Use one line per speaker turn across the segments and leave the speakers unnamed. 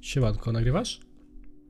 Siemanko, nagrywasz?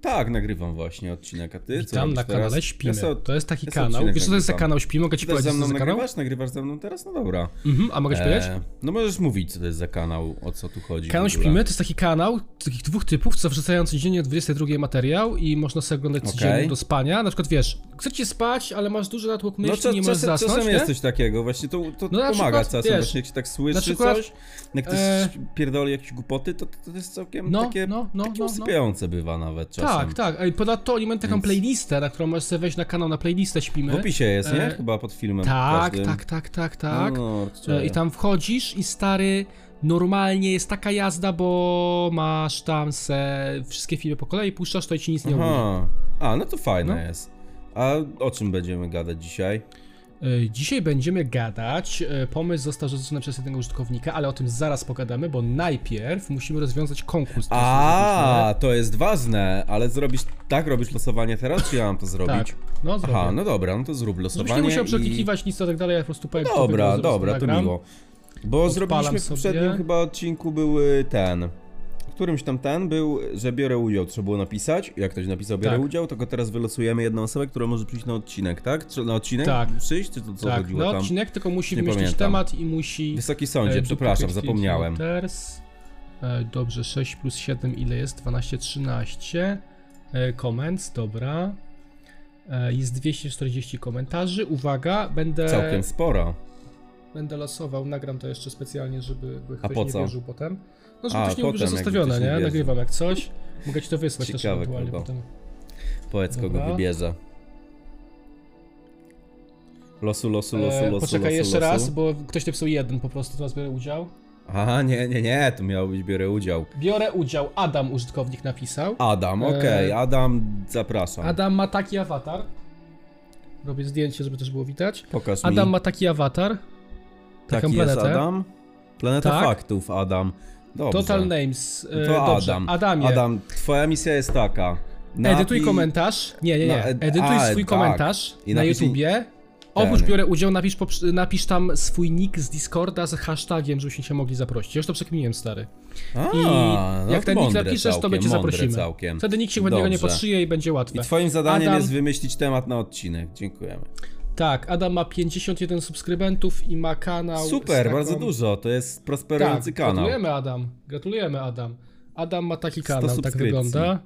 Tak, nagrywam właśnie odcinek, a ty co
Witam
robisz
na
teraz?
kanale Śpimy.
Ja so-
To jest taki
ja sobie
kanał.
odcinek
Wiesz co to jest za
nagrywam.
kanał Śpimy? Mogę ci
Ty też
powiedzieć,
ze
co to
mną
jest za kanał?
nagrywasz? Nagrywasz ze mną teraz? No dobra.
Mhm, a mogę ci powiedzieć?
E, no możesz mówić, co to jest za kanał, o co tu chodzi.
Kanał
w ogóle.
Śpimy to jest taki kanał takich dwóch typów, co wrzucają codziennie o 22 materiał i można sobie oglądać codziennie
Okej.
do spania. Na przykład wiesz, chcecie spać, ale masz duży natłok myśli,
No cza,
nie możesz
czasem,
zasnąć,
czasem
nie?
jest coś takiego, właśnie to, to
No na
pomaga
przykład,
czasem,
wiesz,
właśnie jak się tak słyszy
na przykład,
coś, jak ktoś
e,
pierdoli jakieś głupoty, to, to, to jest całkiem
No,
takie,
no, no,
takie
no, no.
usypiające bywa nawet czasem.
Tak, tak. A i ponadto oni mają taką playlistę, na którą możesz sobie wejść na kanał na playlistę Śpimy.
W opisie jest, nie?
E,
Chyba pod filmem
Tak,
każdym.
tak, tak, tak, tak.
No,
E, I tam wchodzisz i stary, normalnie jest taka jazda, bo masz tam se wszystkie filmy po kolei, puszczasz to i ci nic nie mówi.
Aha. A, no to fajne
No.
jest. A o czym będziemy gadać dzisiaj?
E, Dzisiaj będziemy gadać. E, Pomysł został rzucony przez jednego użytkownika, ale o tym zaraz pogadamy, bo najpierw musimy rozwiązać konkurs. który
A, to jest ważne, ale zrobisz tak, robisz losowanie teraz, czy ja mam to
sobie
zrobić?
zrobiliśmy. Tak, no zrobię.
Aha, no dobra, no to zrób
Żebyś nie
losowanie.
musiał
i-
przeklikiwać nic, to tak dalej, ja po prostu powiem. kto
Dobra,
wygrał, zaraz
dobra, to
nagram.
miło. Bo zrobiliśmy w poprzednim
sobie.
chyba odcinku były ten. W którymś tam ten był, że biorę udział, trzeba było napisać. Jak ktoś napisał biorę
Tak.
udział, to go teraz wylosujemy jedną osobę, która może przyjść na odcinek, tak? Czy na odcinek
Tak.
przyjść, czy to co
Tak,
chodziło
no
tam?
odcinek tylko musi
Nie
wymyślić
pamiętam.
temat i musi.
Wysoki sądzie,
e,
przepraszam,
duplicate
zapomniałem.
Letters. E, Dobrze, 6 plus 7 ile jest? 12, 13. E, Comments, dobra. E, Jest 240 komentarzy. Uwaga, będę.
Całkiem sporo.
Będę losował, nagram to jeszcze specjalnie, żeby by
A
ktoś
po
nie
co?
wierzył potem. No, żeby
A,
ktoś nie mówił, że
potem, jakby
zostawione,
ktoś nie
nie?
wierzył.
Nagrywam jak coś. Mogę ci to wysłać też
Ciekawe
ewentualnie
kogo.
potem.
Powiedz, kogo
Dobra.
wybierze. Losu, losu, losu,
E,
losu,
poczekaj
losu,
jeszcze
losu.
raz, bo ktoś napisał jeden po prostu, teraz biorę udział.
Aha, nie, nie, nie, to miało być biorę udział.
Biorę udział, Adam użytkownik napisał.
Adam, okej,
E,
Adam, zapraszam.
Adam ma taki awatar. Robię zdjęcie, żeby też było widać.
Pokaż
Adam
mi.
ma taki awatar. Taką
Taki jest
planetę.
Adam? Planeta
Tak.
faktów, Adam. Dobrze.
Total Names.
No
E,
To
dobrze.
Adam.
Adamie. E,
Adam, twoja misja jest taka.
Edytuj komentarz. Nie, nie, nie.
No, ed-
Edytuj
a,
swój
tak.
komentarz
I
na
napisz-
YouTubie. Oprócz
Ten.
biorę udział, napisz, poprz- napisz tam swój nick z Discorda z hashtagiem, żebyśmy się mogli zaprosić. Ja Już to przekminiłem, stary.
A,
I
no
jak ten nick
mądre
napiszesz,
całkiem,
to będzie
mądre
zaprosimy.
Całkiem.
Wtedy nikt się niego nie
Dobrze.
podszyje i będzie łatwe.
I twoim zadaniem
Adam-
jest wymyślić temat na odcinek. Dziękujemy.
Tak, Adam ma 51 subskrybentów i ma kanał. z
Super,
taką-
bardzo dużo. To jest
Tak,
prosperujący kanał.
Gratulujemy Adam. Gratulujemy Adam. Adam ma taki
100
kanał, tak
subskrypcji.
wygląda.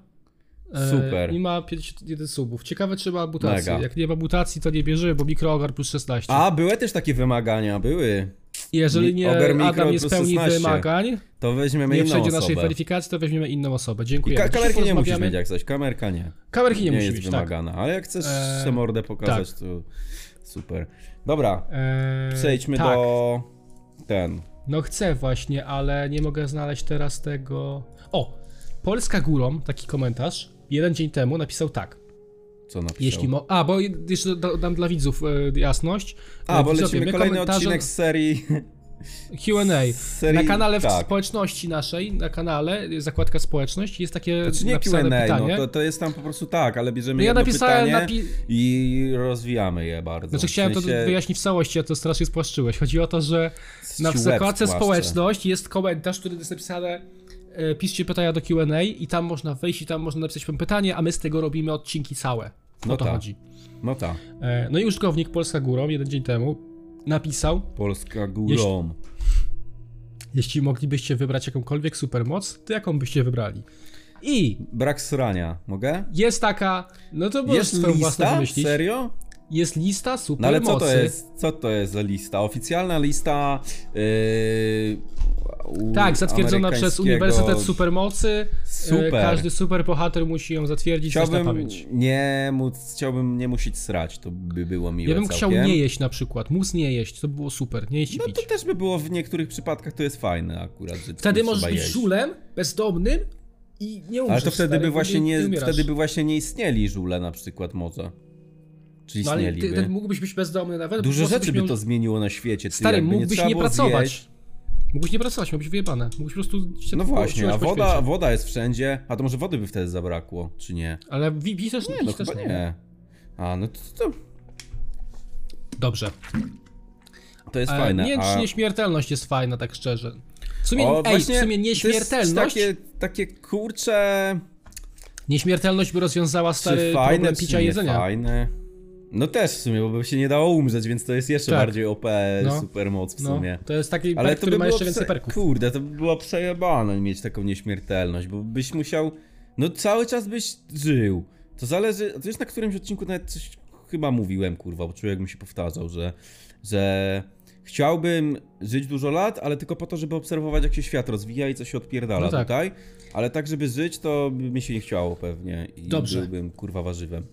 E,
Super.
I ma 51 subów. Ciekawe, czy ma mutację.
Mega.
Jak nie ma mutacji, to nie bierze, bo mikroogar plus 16.
A, były też takie wymagania, były.
Jeżeli nie
Ogar mikro
Adam nie
plus
spełni
16.
wymagań,
To weźmiemy
nie
inną
przejdzie
osobę.
naszej weryfikacji, to weźmiemy inną osobę.
I
Dziękuję.
ka- kamerki nie musisz mieć jak coś, kamerka nie.
Kamerki nie,
Nie,
musi
jest
mieć, tak.
wymagana, ale jak chcesz
Eee,
se mordę pokazać, to super. Dobra,
Eee,
przejdźmy
tak.
do... ten.
No chcę właśnie, ale nie mogę znaleźć teraz tego. O! Polska górą, taki komentarz, jeden dzień temu napisał tak.
Co napisał?
Jeśli mo. A, bo jeszcze da- dam dla widzów e, jasność. E,
A, bo
Widzowie,
lecimy
my
kolejny
komentarze-
odcinek z serii...
QA.
serii-
na kanale w
tak.
społeczności naszej, na kanale, y, zakładka społeczność, jest takie.
Czy nie
napisane
Q&A,
pytanie.
no to, to jest tam po prostu tak, ale bierzemy
No ja
jedno
napisałem
pytanie
napi-
i rozwijamy je bardzo.
Znaczy
W
chciałem to
sensie
wyjaśnić w całości, a to strasznie spłaszczyłeś. Chodzi o to, że
z
na
ci łeb
zakładce
spłaszczę.
społeczność jest komentarz, który jest napisane e, piszcie pytania do Q&A i tam można wejść i tam można napisać wam pytanie, a my z tego robimy odcinki całe. O
No
to
tak.
chodzi.
No tak,
E, no i użytkownik Polska Górą jeden dzień temu napisał,
Polska górą.
jeśli moglibyście wybrać jakąkolwiek supermoc, to jaką byście wybrali? I
Brak srania, mogę?
jest taka, no to możesz
Jest
swoją własną
lista?
wymyślić.
Serio?
Jest lista supermocy.
No ale co to jest? Co to jest za lista? Oficjalna lista. Yy, u-
Tak, zatwierdzona przez
amerykańskiego-
Uniwersytet Supermocy.
Super.
E, Każdy superbohater musi ją zatwierdzić Chciałbym... na
Chciałbym
pamięć.
nie móc, chciałbym nie musieć srać, to by było miłe.
Ja bym chciał
całkiem.
nie jeść na przykład. Mus nie jeść, to by było super. Nie jeść i
No
pić.
to też by było w niektórych przypadkach, to jest fajne akurat. Że
Wtedy
nie
możesz
trzeba
być
jeść.
żulem, bezdomnym i nie umrzesz.
Ale to wtedy
stary,
by właśnie nie,
umierasz.
wtedy by właśnie nie istnieli żule na przykład może. Czy
No ale ty,
istnieliby.
ty mógłbyś być bezdomny nawet. po
Dużo
prostu
rzeczy
byś
by
miał-
to zmieniło na świecie. Ty,
Stary,
jakby
mógłbyś
trzeba
nie
było
pracować.
Zjeść.
Mógłbyś nie pracować, mógłbyś wyjebane. Mógłbyś po prostu się
No
po-
właśnie,
siłać
a
po
woda,
świecie.
woda jest wszędzie. A to może wody by wtedy zabrakło, czy nie?
Ale wi- wi też nie,
No
wi też
chyba nie. A, no to, to,
Dobrze.
to jest
E,
fajne.
Nie,
a...
E, czy nieśmiertelność jest fajna, tak szczerze. W sumie,
O,
ej, w
właśnie
sumie
to jest
nieśmiertelność,
Takie, takie kurcze.
nieśmiertelność by rozwiązała
Czy
stary
fajne,
problem
czy
picia
nie
i jedzenia.
fajne. No też w sumie, bo by się nie dało umrzeć, więc to jest jeszcze
Tak.
bardziej OP
No.
supermoc w
No,
sumie.
to jest taki
Ale
perk,
to
który
by
ma
było
jeszcze więcej
prze...
perków.
Kurde, to by było przejebane mieć taką nieśmiertelność, bo byś musiał. No cały czas byś żył. To zależy. To już na którymś odcinku nawet coś chyba mówiłem, kurwa, bo człowiek mi się powtarzał, że. że chciałbym żyć dużo lat, ale tylko po to, żeby obserwować, jak się świat rozwija i co się odpierdala
No tak.
tutaj. Ale tak, żeby żyć, to by mi się nie chciało pewnie. I
Dobrze.
byłbym kurwa warzywem.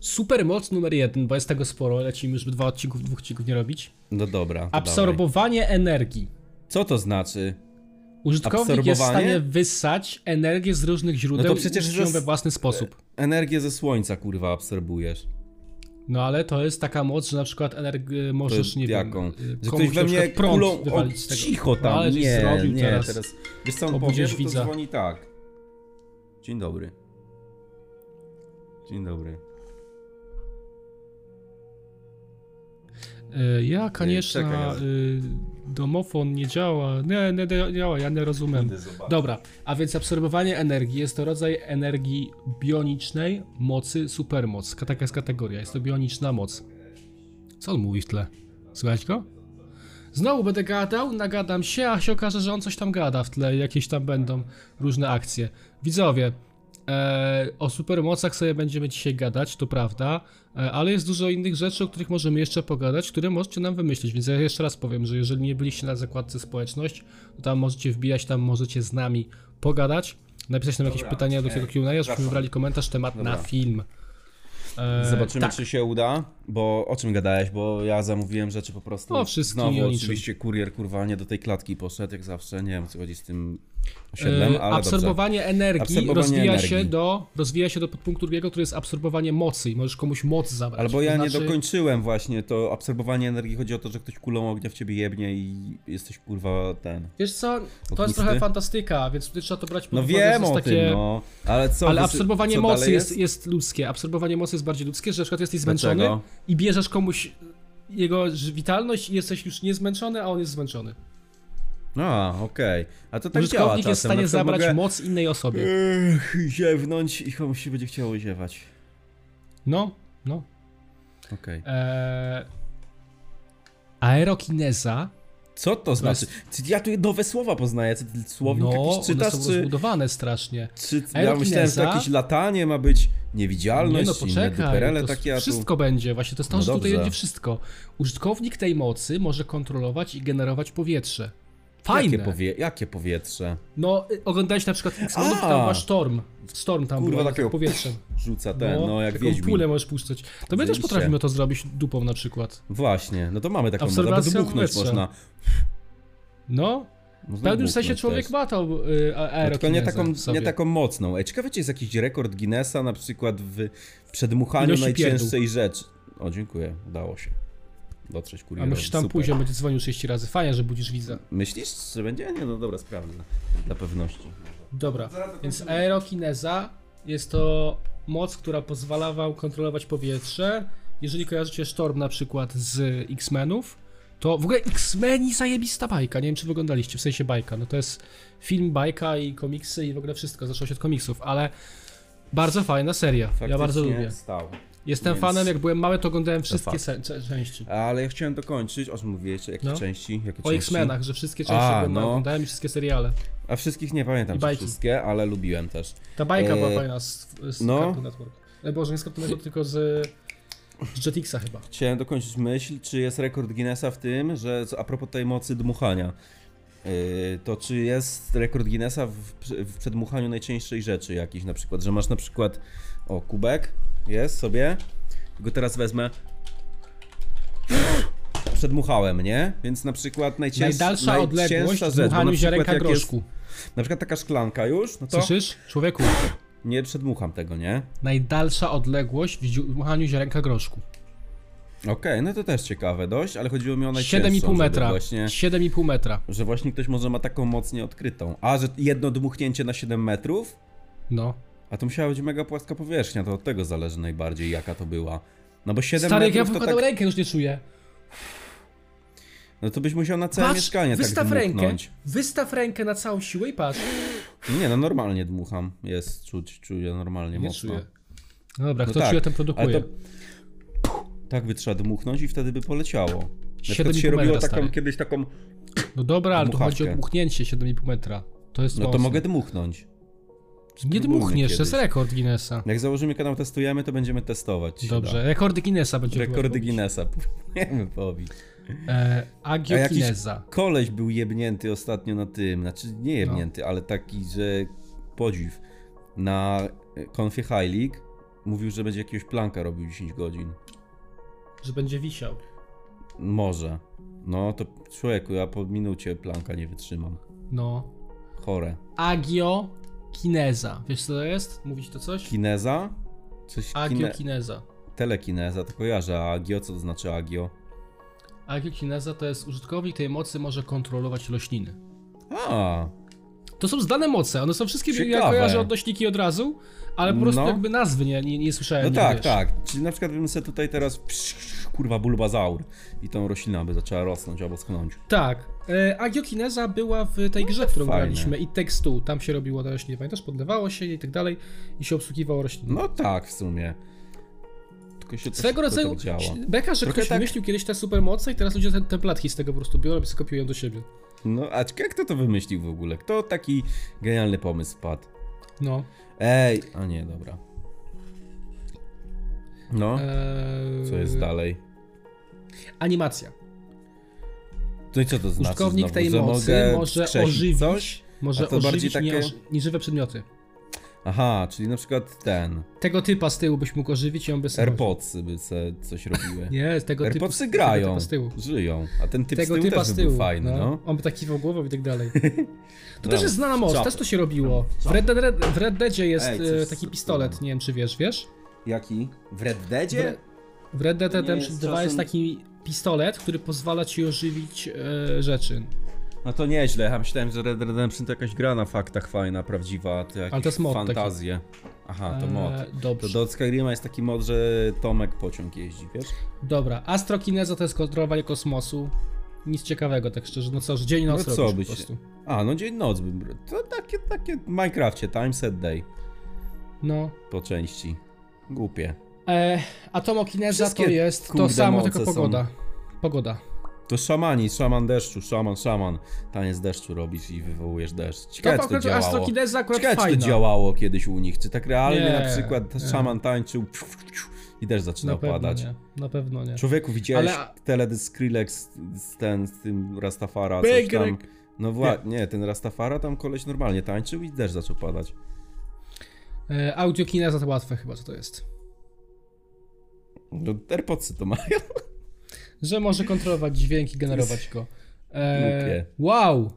Super moc numer jeden, bo jest tego sporo, lecimy, żeby dwa odcinków, dwóch odcinków nie robić.
No dobra. to dawaj.
Absorbowanie energii.
Co to znaczy?
Użytkownik jest w
Absorbowanie?
stanie wysać energię z różnych źródeł
to
no
przecież
i użyć ją
zas-
we własny sposób.
Energię ze słońca, kurwa, absorbujesz.
No ale to jest taka moc, że na przykład energię możesz, nie
jaką?
wiem, y,
Że
komuś
ktoś we
na
mnie
przykład prąd
kulą... O,
wywalić z tego.
cicho tam,
No, ale żeś
nie,
zrobił
nie,
teraz.
teraz. Wiesz co on
Obudziłeś
powie, to
widza.
dzwoni tak. Dzień dobry. Dzień dobry.
Y, Ja, koniecznie,
czekaj, ja-
y, domofon nie działa. Nie, nie dia- działa, ja nie rozumiem.
Idę zobaczyć.
Dobra, a więc absorbowanie energii jest to rodzaj energii bionicznej mocy supermoc. Ka- Taka jest kategoria, jest to bioniczna moc. Co on mówi w tle? Słychać go? Znowu będę gadał, nagadam się, a się okaże, że on coś tam gada w tle, jakieś tam będą różne akcje. Widzowie, e, o supermocach sobie będziemy dzisiaj gadać, to prawda, e, ale jest dużo innych rzeczy, o których możemy jeszcze pogadać, które możecie nam wymyślić, więc ja jeszcze raz powiem, że jeżeli nie byliście na zakładce społeczność, to tam możecie wbijać, tam możecie z nami pogadać, napisać nam jakieś pytania do tego Q&A, żebyśmy wybrali komentarz, temat na film. E,
Zobaczymy,
tak.
czy się uda, bo o czym gadałeś, bo ja zamówiłem rzeczy po prostu.
O No, wszystkim i o
Znowu
niczym.
oczywiście kurier, kurwa, nie do tej klatki poszedł, jak zawsze, nie wiem, o co chodzi z tym osiedlem,
E,
ale dobrze.
absorbowanie energii
Absorbowanie
rozwija
energii.
się do rozwija się do podpunktu drugiego, który jest absorbowanie mocy i możesz komuś moc zabrać.
Albo
To
ja nie
znaczy-
dokończyłem właśnie, to absorbowanie energii chodzi o to, że ktoś kulą ognia w ciebie jebnie i jesteś kurwa ten.
Wiesz co, to jest
Odpusty.
trochę fantastyka, więc tutaj trzeba to brać pod
No
uwagę,
wiem
to
o
jest
tym,
takie...
no. Ale co?
Ale
wysy-
absorbowanie
co
mocy
dalej
jest, jest ludzkie. Absorbowanie mocy jest bardziej ludzkie, że na przykład jesteś zmęczony
Dlaczego?
i bierzesz komuś jego ż- witalność i jesteś już niezmęczony, a on jest zmęczony.
A, okej. A to tak działa
Użytkownik
czasem.
jest w
Na
stanie
przykład
zabrać
mogę...
moc innej osobie.
Ech, ziewnąć i komuś się będzie chciało ziewać.
No, no.
Okej.
Eee... Aerokineza
Co to znaczy? Czy Ja tu nowe słowa poznaję. Czy ty słownik
No,
jakiś
one
czytasz,
są
czy...
rozbudowane strasznie.
czy... Ja
Aerokineza?
myślałem, że to jakieś latanie ma być
Nie
niewidzialność,
no,
inne duperele
poczekaj, to
takie, a tu...
wszystko będzie, właśnie to jest to,
No
że tutaj
dobrze.
będzie wszystko. Użytkownik tej mocy może kontrolować i generować powietrze. Fajne.
Jakie, powie... jakie powietrze?
No, y, oglądałeś na przykład X-Menów,
A!
tam była Storm. Storm tam
Kurwa,
była,
takiego-
z powietrzem.
Rzuca ten, no, jak
taką
Wiedźmin.
pulę możesz puszczać. To my też
Zajebiście.
potrafimy to zrobić dupą na przykład.
Właśnie, no to mamy taką moc, albo
Obserwacja
dmuchnąć
powietrza.
można.
No,
Można
w pewnym
dmuchnąć
sensie człowiek
też.
ma tą y, a-
No, Tylko nie
aerokinezę
taką,
w
nie
sobie.
taką mocną. Ej, ciekawe, czy jest jakiś rekord Guinnessa na przykład w przedmuchaniu
Ilości
najcięższej rzeczy. O, dziękuję, udało się. Dotrzeć
A
kurierowi.
musisz tam
Super.
pójść, on będzie dzwonił 30 razy. Fajnie, że budzisz widza.
Myślisz, że będzie? Nie, no dobra, sprawdzę. Dla pewności.
Dobra, więc aerokineza jest to moc, która pozwala wam kontrolować powietrze. Jeżeli kojarzycie Storm na przykład z X-Menów, to w ogóle X-Meni zajebista bajka. Nie wiem, czy wyglądaliście, w sensie bajka. No to jest film, bajka i komiksy i w ogóle wszystko. Zaczęło się od komiksów, ale bardzo fajna seria. ja bardzo
Faktycznie
lubię.
Stał.
Jestem
więc-
fanem, jak byłem mały, to oglądałem wszystkie
fakt.
se- cze- części.
Ale ja chciałem dokończyć, o czym mówiłeś, jakie
No.
części? Jakie
O
części?
X-Menach, że wszystkie części
A,
oglądałem,
no.
oglądałem i wszystkie seriale.
A wszystkich nie pamiętam,
I
czy
bajki.
wszystkie, ale lubiłem też.
Ta bajka była
Eee,
fajna z, z
no.
Cartoon Network. E, Boże, nie z Cartoon Network, tylko z, z Jetixa chyba.
Chciałem dokończyć myśl, czy jest rekord Guinnessa w tym, że co- a propos tej mocy dmuchania, yy, to czy jest rekord Guinnessa w, prze- w przedmuchaniu najcięższej rzeczy jakiejś na przykład, że masz na przykład, o kubek, jest sobie, go teraz wezmę, przedmuchałem, nie? Więc na przykład najcięż,
Najdalsza odległość
najcięższa
w
rzecz, bo na
dmuchaniu
przykład
ziarenka
jak jest,
groszku.
na przykład taka szklanka już, no to
Słyszysz? Człowieku,
nie przedmucham tego, nie?
najdalsza odległość w dziu- dmuchaniu ziarenka groszku.
Okej, no to też ciekawe dość, ale chodziło mi o najcięższą
7,5 metra.
Właśnie...
7,5 metra.
Że właśnie ktoś może ma taką moc nieodkrytą. A, że jedno dmuchnięcie na 7 metrów?
No.
A to musiała być mega płaska powierzchnia, to od tego zależy najbardziej jaka to była. No bo 7
Stary, jak ja
metrów to
wykładam
tak...
rękę, już nie czuję.
No to byś musiał na całe mieszkanie tak
wystaw rękę,
dmuchnąć.
wystaw rękę na całą siłę i patrz.
Nie, no normalnie dmucham. Jest, czuć, czuję normalnie
Nie
mocno.
czuję. No dobra,
No
kto czuje, ten produkuje.
ale to- Tak by trzeba dmuchnąć i wtedy by poleciało. Na
Siedem
przykład
i
się
pół
robiło
metra,
taką,
stary.
kiedyś taką,
No dobra, ale tu
Dmuchawkę.
chodzi o dmuchnięcie 7,5 metra. To jest
no to
mocne.
mogę dmuchnąć.
Nie
Spróbujmy
dmuchniesz, to
kiedyś.
jest rekord Guinnessa.
Jak założymy kanał Testujemy, to będziemy testować. czy się
Dobrze, rekordy Guinnessa
da.
będzie
Rekordy Guinnessa próbujemy pobić.
E,
A jakiś
agiokineza.
koleś był jebnięty ostatnio na tym, znaczy
No.
nie jebnięty, ale taki, że podziw. Na konfie High League mówił, że będzie jakiegoś planka robił 10 godzin.
Że będzie wisiał.
Może. No to człowieku, ja po minucie planka nie wytrzymam.
No.
Chore.
Agiokineza. Wiesz co to jest? Mówić to coś?
Kineza? Coś kine...
Agiokineza.
Telekineza, to kojarzę. A agio, co to znaczy agio?
Agiokineza to jest użytkownik tej mocy może kontrolować rośliny.
A,
To są zdane moce, one są wszystkie, ja
Ciekawe.
kojarzę odnośniki od razu, ale po prostu
No.
jakby nazwy nie, nie, nie słyszałem.
no
nie
tak,
wiesz.
tak. Czyli na przykład bym sobie tutaj teraz psz, kurwa bulbazaur i tą roślina by zaczęła rosnąć albo schnąć.
Tak. E, Agiokineza była w tej grze, którą
No fajne.
graliśmy i tekstu, tam się robiło te rośliny, pamiętasz? Podlewało się i tak dalej i się obsługiwało rośliny.
No tak, w sumie. Tylko się to
Swego
szybko
rodzaju
tak działa.
beka, że
Trochę
ktoś
tak-
wymyślił kiedyś te supermoce i teraz ludzie te, te platki z tego po prostu biorą i sobie kopiują do siebie.
No, a ciekawe, kto to wymyślił w ogóle? Kto taki genialny pomysł wpadł?
No.
Ej! A nie, dobra. No,
Eee,
co jest dalej?
Animacja.
No i co to znaczy
Użytkownik
znowu?
tej
Że
mocy
mogę
może
wskrzesić
ożywić,
coś?
może
A to bardziej
ożywić
takie-
nieoż- nieżywe przedmioty.
Aha, czyli na przykład ten.
Tego typa z tyłu byś mógł ożywić i on by sobie...
AirPodsy by se coś robiły.
Nie, tego typu,
AirPodsy
Tego
grają,
typa z tyłu.
żyją. A ten typ
Tego
z tyłu
typa
też
z
by był
tyłu.
fajny, no.
On by taki głową i tak dalej. To
Dobra,
też jest znana moc,
czapy.
też to się robiło. W Red, Dead, Red, w Red Deadzie jest
Ej, coś
e, taki
zepsułem.
pistolet, nie wiem czy wiesz, wiesz?
Jaki? W Red
W,
Deadzie?
Re- w Red Dead
To nie
Redemption
jest
2 jest
czasem-
taki pistolet, który pozwala ci ożywić e, rzeczy.
No to nieźle, ja myślałem, że Red Dead Redemption to jakaś gra na faktach fajna, prawdziwa, to jakieś
Ale to jest mod taki.
fantazje. Aha, to
E,
mod. To
dobrze.
do Skyrima jest taki mod, że Tomek pociąg jeździ, wiesz?
Dobra, astrokineza to jest kontrolowanie kosmosu. Nic ciekawego, tak szczerze, no co, że dzień i noc
No co
robisz
byś-
po prostu.
A, no dzień noc bym... bro- To takie, takie w Minecrafcie, time set day
No.
po części. Głupie.
E, atomokineza to
Wszystkie,
jest to
kurde,
samo,
moce
tylko
są-
pogoda. Pogoda.
To szamani, szaman deszczu, szaman, szaman. Taniec deszczu robisz i wywołujesz deszcz. Ciekawe,
To
czy to
akurat
działało.
astrokineza akurat
Ciekawe, czy to
fajna.
działało kiedyś u nich. Czy tak realnie
Nie,
na przykład
nie.
szaman tańczył pfiu, pfiu, pfiu, i deszcz zaczynał
Na pewno
padać.
nie, na pewno nie.
Człowieku, widziałeś
Ale-
teledysk Skrillex z, ten, z tym Rastafara, coś tam.
Begrek.
No właśnie, nie, ten Rastafara tam koleś normalnie tańczył i deszcz zaczął padać.
E, Audiokineza to łatwe chyba, co to jest.
No, AirPodsy to mają.
Że może kontrolować dźwięk i generować go. E,
Głupie.
wow!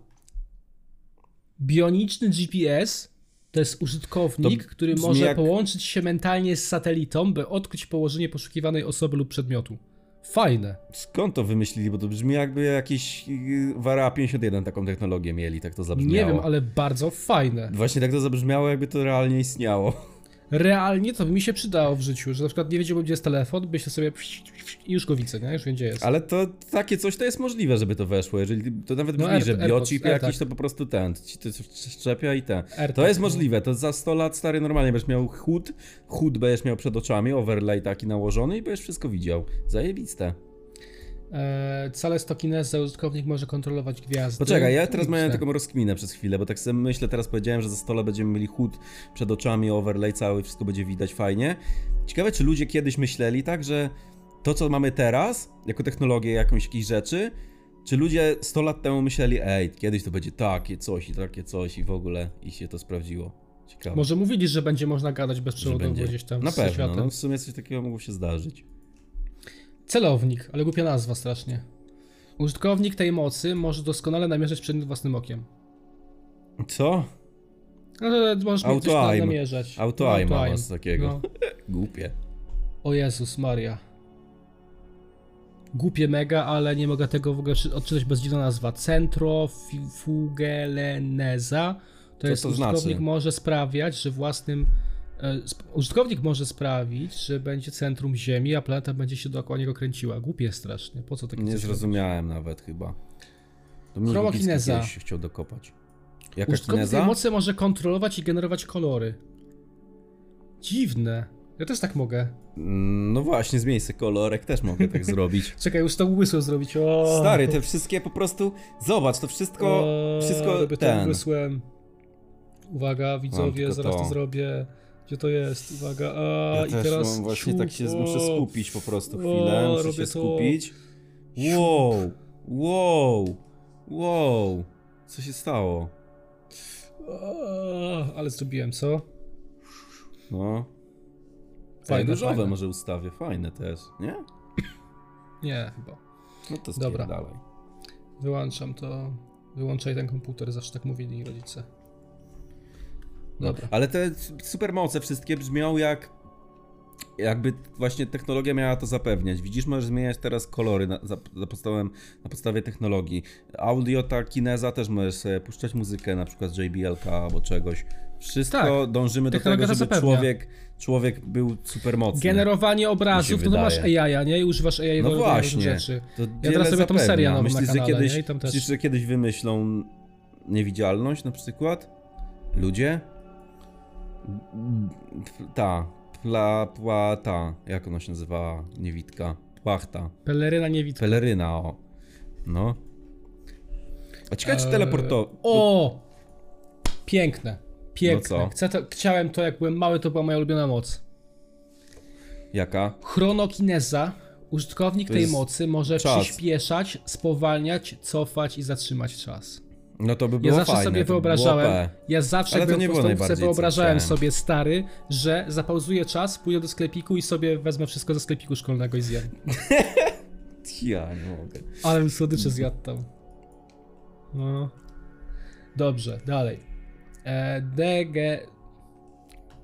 Bioniczny GPS to jest użytkownik,
To
który
brzmi
może
jak-
połączyć się mentalnie z satelitą, by odkryć położenie poszukiwanej osoby lub przedmiotu. Fajne.
Skąd to wymyślili? Bo to brzmi jakby jakieś yy, Wara 51 taką technologię mieli, tak to zabrzmiało.
Nie wiem, ale bardzo fajne.
Właśnie tak to zabrzmiało, jakby to realnie istniało.
Realnie to by mi się przydało w życiu, że na przykład nie wiedziałbym, gdzie jest telefon, by się sobie i już go widzę, nie? Już wiem, gdzie jest.
Ale to takie coś to jest możliwe, żeby to weszło. Jeżeli to nawet
No,
brzmi,
Air-
że
AirPods,
biochip
Air,
jakiś
tak.
to po prostu ten, ci to szczepia i ten. To
AirPods,
jest
no.
możliwe, to za 100 lat stary normalnie będziesz miał chód, chód będziesz miał przed oczami, overlay taki nałożony i będziesz wszystko widział. Zajebiste.
Eee, Cale stokineza użytkownik może kontrolować gwiazdy.
Poczekaj, ja teraz miałem
Logiczne.
taką rozkminę przez chwilę, bo tak sobie myślę, teraz powiedziałem, że za 100 lat będziemy mieli chód przed oczami, overlay cały, wszystko będzie widać fajnie. Ciekawe, czy ludzie kiedyś myśleli tak, że to, co mamy teraz, jako technologię jakąś jakichś rzeczy, czy ludzie 100 lat temu myśleli, ej, kiedyś to będzie takie coś i takie coś i w ogóle i się to sprawdziło. Ciekawe.
Może mówili, że będzie można gadać
że
bezprzewodowo
będzie.
gdzieś tam
Na
ze
pewno,
światem.
no, w sumie coś takiego mogło się zdarzyć.
Celownik, ale głupia nazwa strasznie. Użytkownik tej mocy może doskonale namierzać przedmiot własnym okiem.
Co?
No to możesz mieć coś tam
Auto-aim.
namierzać.
Auto-aim
No,
ma was takiego.
No.
Głupie.
O Jezus Maria. Głupie mega, ale nie mogę tego w ogóle przy- odczytać bez dziwna nazwa. Centrofugeleneza. To,
Co
jest
to
użytkownik
znaczy?
może sprawiać, że własnym E, sp- Użytkownik może sprawić, że będzie centrum Ziemi, a planeta będzie się dookoła niego kręciła. Głupie strasznie. Po co takie
Nie
coś
zrozumiałem nawet chyba. To mnie
Chromakineza.
Lubicki kiedyś się chciał dokopać. Jaka
Użytkownik tej
kineza?
mocy może kontrolować i generować kolory. Dziwne. Ja też tak mogę.
Mm, No właśnie, zmień se kolorek, też mogę tak zrobić.
Czekaj, już to łysło zrobić. O,
Stary, te wszystkie po prostu... Zobacz, to wszystko...
o,
wszystko
robię to
ten...
łysłem. Uwaga, widzowie,
tylko
zaraz to.
to.
zrobię. Gdzie to jest? Uwaga. A,
Ja
i
też
teraz
mam właśnie
ciuch,
tak się
o.
muszę skupić po prostu
O,
chwilę, muszę
robię
się
to.
skupić. Wow, wow, wow. Co się stało?
O, ale zrobiłem, co?
No.
Fajne,
Fajne, różowe
fajne.
może ustawię, fajne też, nie?
Nie, chyba.
No to
Dobra.
Dobra. dalej.
Wyłączam to. Wyłączaj ten komputer, zawsze tak mówili rodzice.
No,
Dobra.
Ale te supermoce wszystkie brzmią jak... Jakby właśnie technologia miała to zapewniać. Widzisz, możesz zmieniać teraz kolory na, za, za podstawem, na podstawie technologii. Audio, ta kineza też możesz sobie puszczać muzykę, na przykład JBLK albo czegoś. Wszystko dążymy do
Tak. Technologia
tego,
to
żeby
zapewnia.
człowiek, człowiek był supermocny.
Generowanie obrazów, no to masz
wydaje.
AI, nie? I używasz AI do
No
robienia różnych
właśnie.
rzeczy.
To
Ja
wiele
teraz sobie tą
zapewnia.
serię nową
myślisz,
na
że
kanale,
kiedyś,
nie? I tam też-
Myślisz, że kiedyś wymyślą niewidzialność na przykład? Ludzie? Ta, pla, pła, ta, jak ona się nazywała? Niewitka, płachta,
Peleryna nie widzę.
peleryna, o. No. A ciekawe, czy
Eee,
teleporto...
O! Piękne. Piękne.
No co?
Chcę to, chciałem to, jak byłem mały, to była moja ulubiona moc.
Jaka?
Chronokineza. Użytkownik
To
tej
jest
mocy może
czas.
przyspieszać, spowalniać, cofać i zatrzymać czas.
No to by
Ja
było
zawsze
fajne.
sobie
to by było
wyobrażałem,
OP.
ja zawsze
Ale to
byłem
nie
w
było
podstawówce,
najbardziej, co
wyobrażałem
chciałem.
sobie stary, że zapauzuję czas, pójdę do sklepiku i sobie wezmę wszystko ze sklepiku szkolnego i zjem.
Ja nie mogę.
Ale bym słodycze zjadł tam. No. Dobrze, dalej. E, dege,